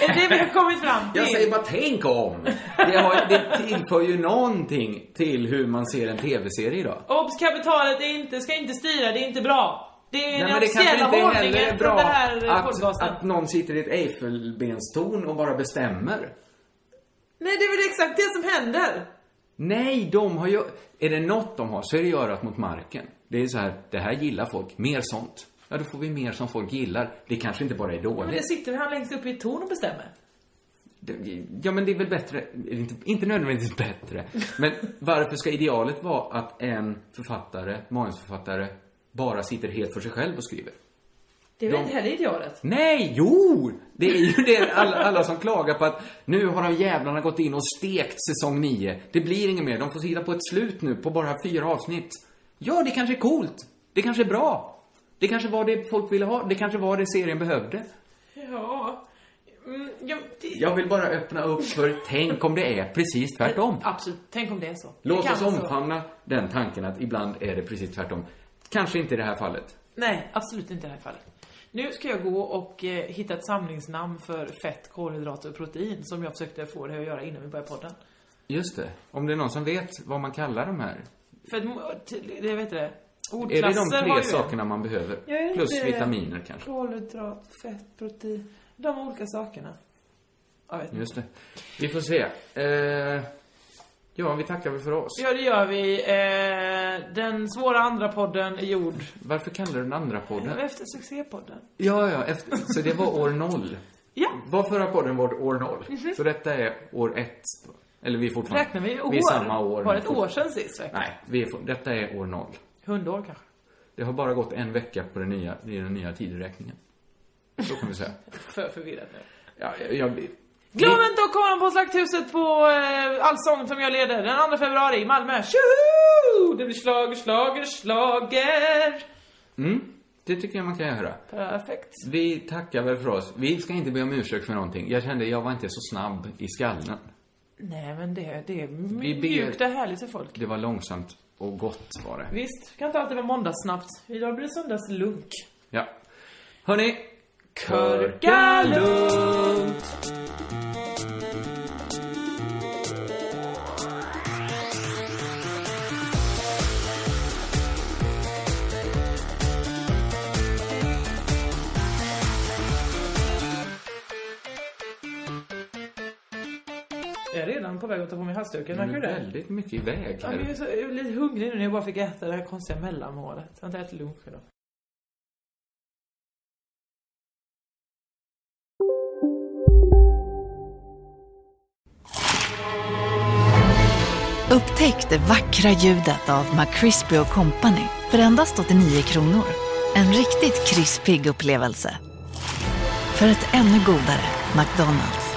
Speaker 8: är det det
Speaker 9: *laughs*
Speaker 8: vi har kommit fram till?
Speaker 9: Jag säger bara tänk om! Det, har, det tillför ju någonting till hur man ser en TV-serie idag.
Speaker 8: Obs, kapitalet är inte, ska inte styra, det är inte bra. Det är
Speaker 9: Nej,
Speaker 8: den
Speaker 9: men det kanske
Speaker 8: officiella
Speaker 9: inte heller
Speaker 8: ordningen
Speaker 9: är
Speaker 8: från
Speaker 9: bra
Speaker 8: det här eh,
Speaker 9: att,
Speaker 8: podcasten.
Speaker 9: att någon sitter i ett Eiffelbenstorn och bara bestämmer.
Speaker 8: Nej, det är väl exakt det som händer.
Speaker 9: Nej, de har ju... Är det något de har så är det ju örat mot marken. Det är så här, det här gillar folk, mer sånt. Ja, då får vi mer som folk gillar. Det kanske inte bara är
Speaker 8: Men
Speaker 9: dåligt.
Speaker 8: det sitter han längst upp i ett torn och bestämmer.
Speaker 9: Det- Ja, men det är väl bättre, inte, inte nödvändigtvis bättre, men varför ska idealet vara att en författare, manusförfattare, bara sitter helt för sig själv och skriver?
Speaker 8: Det är väl
Speaker 9: De-
Speaker 8: inte heller idealet?
Speaker 9: Nej, jo! Det är ju det alla, alla som klagar på att nu har de jävlarna gått in och stekt säsong 9. Det blir inget mer. De får hitta på ett slut nu på bara fyra avsnitt. Ja, det kanske är coolt. Det kanske är bra. Det kanske var det folk ville ha. Det kanske var det serien behövde.
Speaker 8: Ja. Mm, jag, det,
Speaker 9: Jag vill bara öppna upp för tänk om det är precis tvärtom.
Speaker 8: Absolut, tänk om det är så.
Speaker 9: Låt
Speaker 8: Det
Speaker 9: oss
Speaker 8: kan vara så.
Speaker 9: omfamna den tanken att ibland är det precis tvärtom. Kanske inte i det här fallet.
Speaker 8: Nej, absolut inte i det här fallet. Nu ska jag gå och eh, hitta ett samlingsnamn för fett, kolhydrater och protein som jag försökte få dig att göra innan vi började podden.
Speaker 9: Just det. Om det är någon som vet vad man kallar de här
Speaker 8: För att, mo- till- det vet du det,
Speaker 9: Är
Speaker 8: ordklasser
Speaker 9: det de
Speaker 8: har
Speaker 9: tre
Speaker 8: ju-
Speaker 9: sakerna man behöver?
Speaker 8: Jag är
Speaker 9: Plus
Speaker 8: inte-
Speaker 9: vitaminer kanske?
Speaker 8: Kolhydrat, fett, protein. De olika sakerna. Jag vet inte.
Speaker 9: Just det. Vi får se. Eh, ja, vi tackar väl för oss.
Speaker 8: Ja, det gör vi. Eh, den svåra andra podden är gjord.
Speaker 9: Varför kallar du den andra podden?
Speaker 8: Efter succépodden.
Speaker 9: Ja, ja, efter, så det var år noll.
Speaker 8: Ja.
Speaker 9: Var förra podden vårt år noll? Så detta är år ett. Eller vi är fortfarande...
Speaker 8: Mhm. Räknar vi år?
Speaker 9: Vi är samma år.
Speaker 8: Var det
Speaker 9: men
Speaker 8: ett år sedan sist? verkligen?
Speaker 9: Nej, vi är, for- detta är år noll.
Speaker 8: Hundår kanske?
Speaker 9: Det har bara gått en vecka på den nya, i den nya tideräkningen. Så kan vi säga.
Speaker 8: För förvirrat nu.
Speaker 9: Ja, jag, jag,
Speaker 8: Glöm inte att komma på Slakthuset på eh, Allsång som jag leder den 2 februari i Malmö. Tjoho! Det blir slager, slager, slager.
Speaker 9: mm, det tycker jag man kan göra.
Speaker 8: Perfekt.
Speaker 9: Vi tackar väl för oss. Vi ska inte be om ursäkt för någonting. Jag kände, jag var inte så snabb i skallen.
Speaker 8: Nej men det, det är
Speaker 9: Vi ber-
Speaker 8: mjukt och härligt för folk.
Speaker 9: Det var långsamt och gott var det.
Speaker 8: Visst, kan inte alltid vara måndagssnabbt. Idag blir det söndagslunk.
Speaker 9: Ja. Hörni.
Speaker 8: Körka lugnt.
Speaker 15: Thank you.
Speaker 8: redan på väg att ta på mig halsduken,
Speaker 9: Men
Speaker 8: märker
Speaker 9: du
Speaker 8: du
Speaker 9: är
Speaker 8: det?
Speaker 9: Mm, väldigt mycket iväg
Speaker 8: Ja, men jag är
Speaker 9: här.
Speaker 8: så jag är lite hungrig nu när jag bara fick äta det här konstiga mellanmålet. Jag har inte ätit lunch idag.
Speaker 14: Upptäck det vackra ljudet av McCrispy Company för endast 89 kronor. En riktigt krispig upplevelse. För ett ännu godare McDonalds.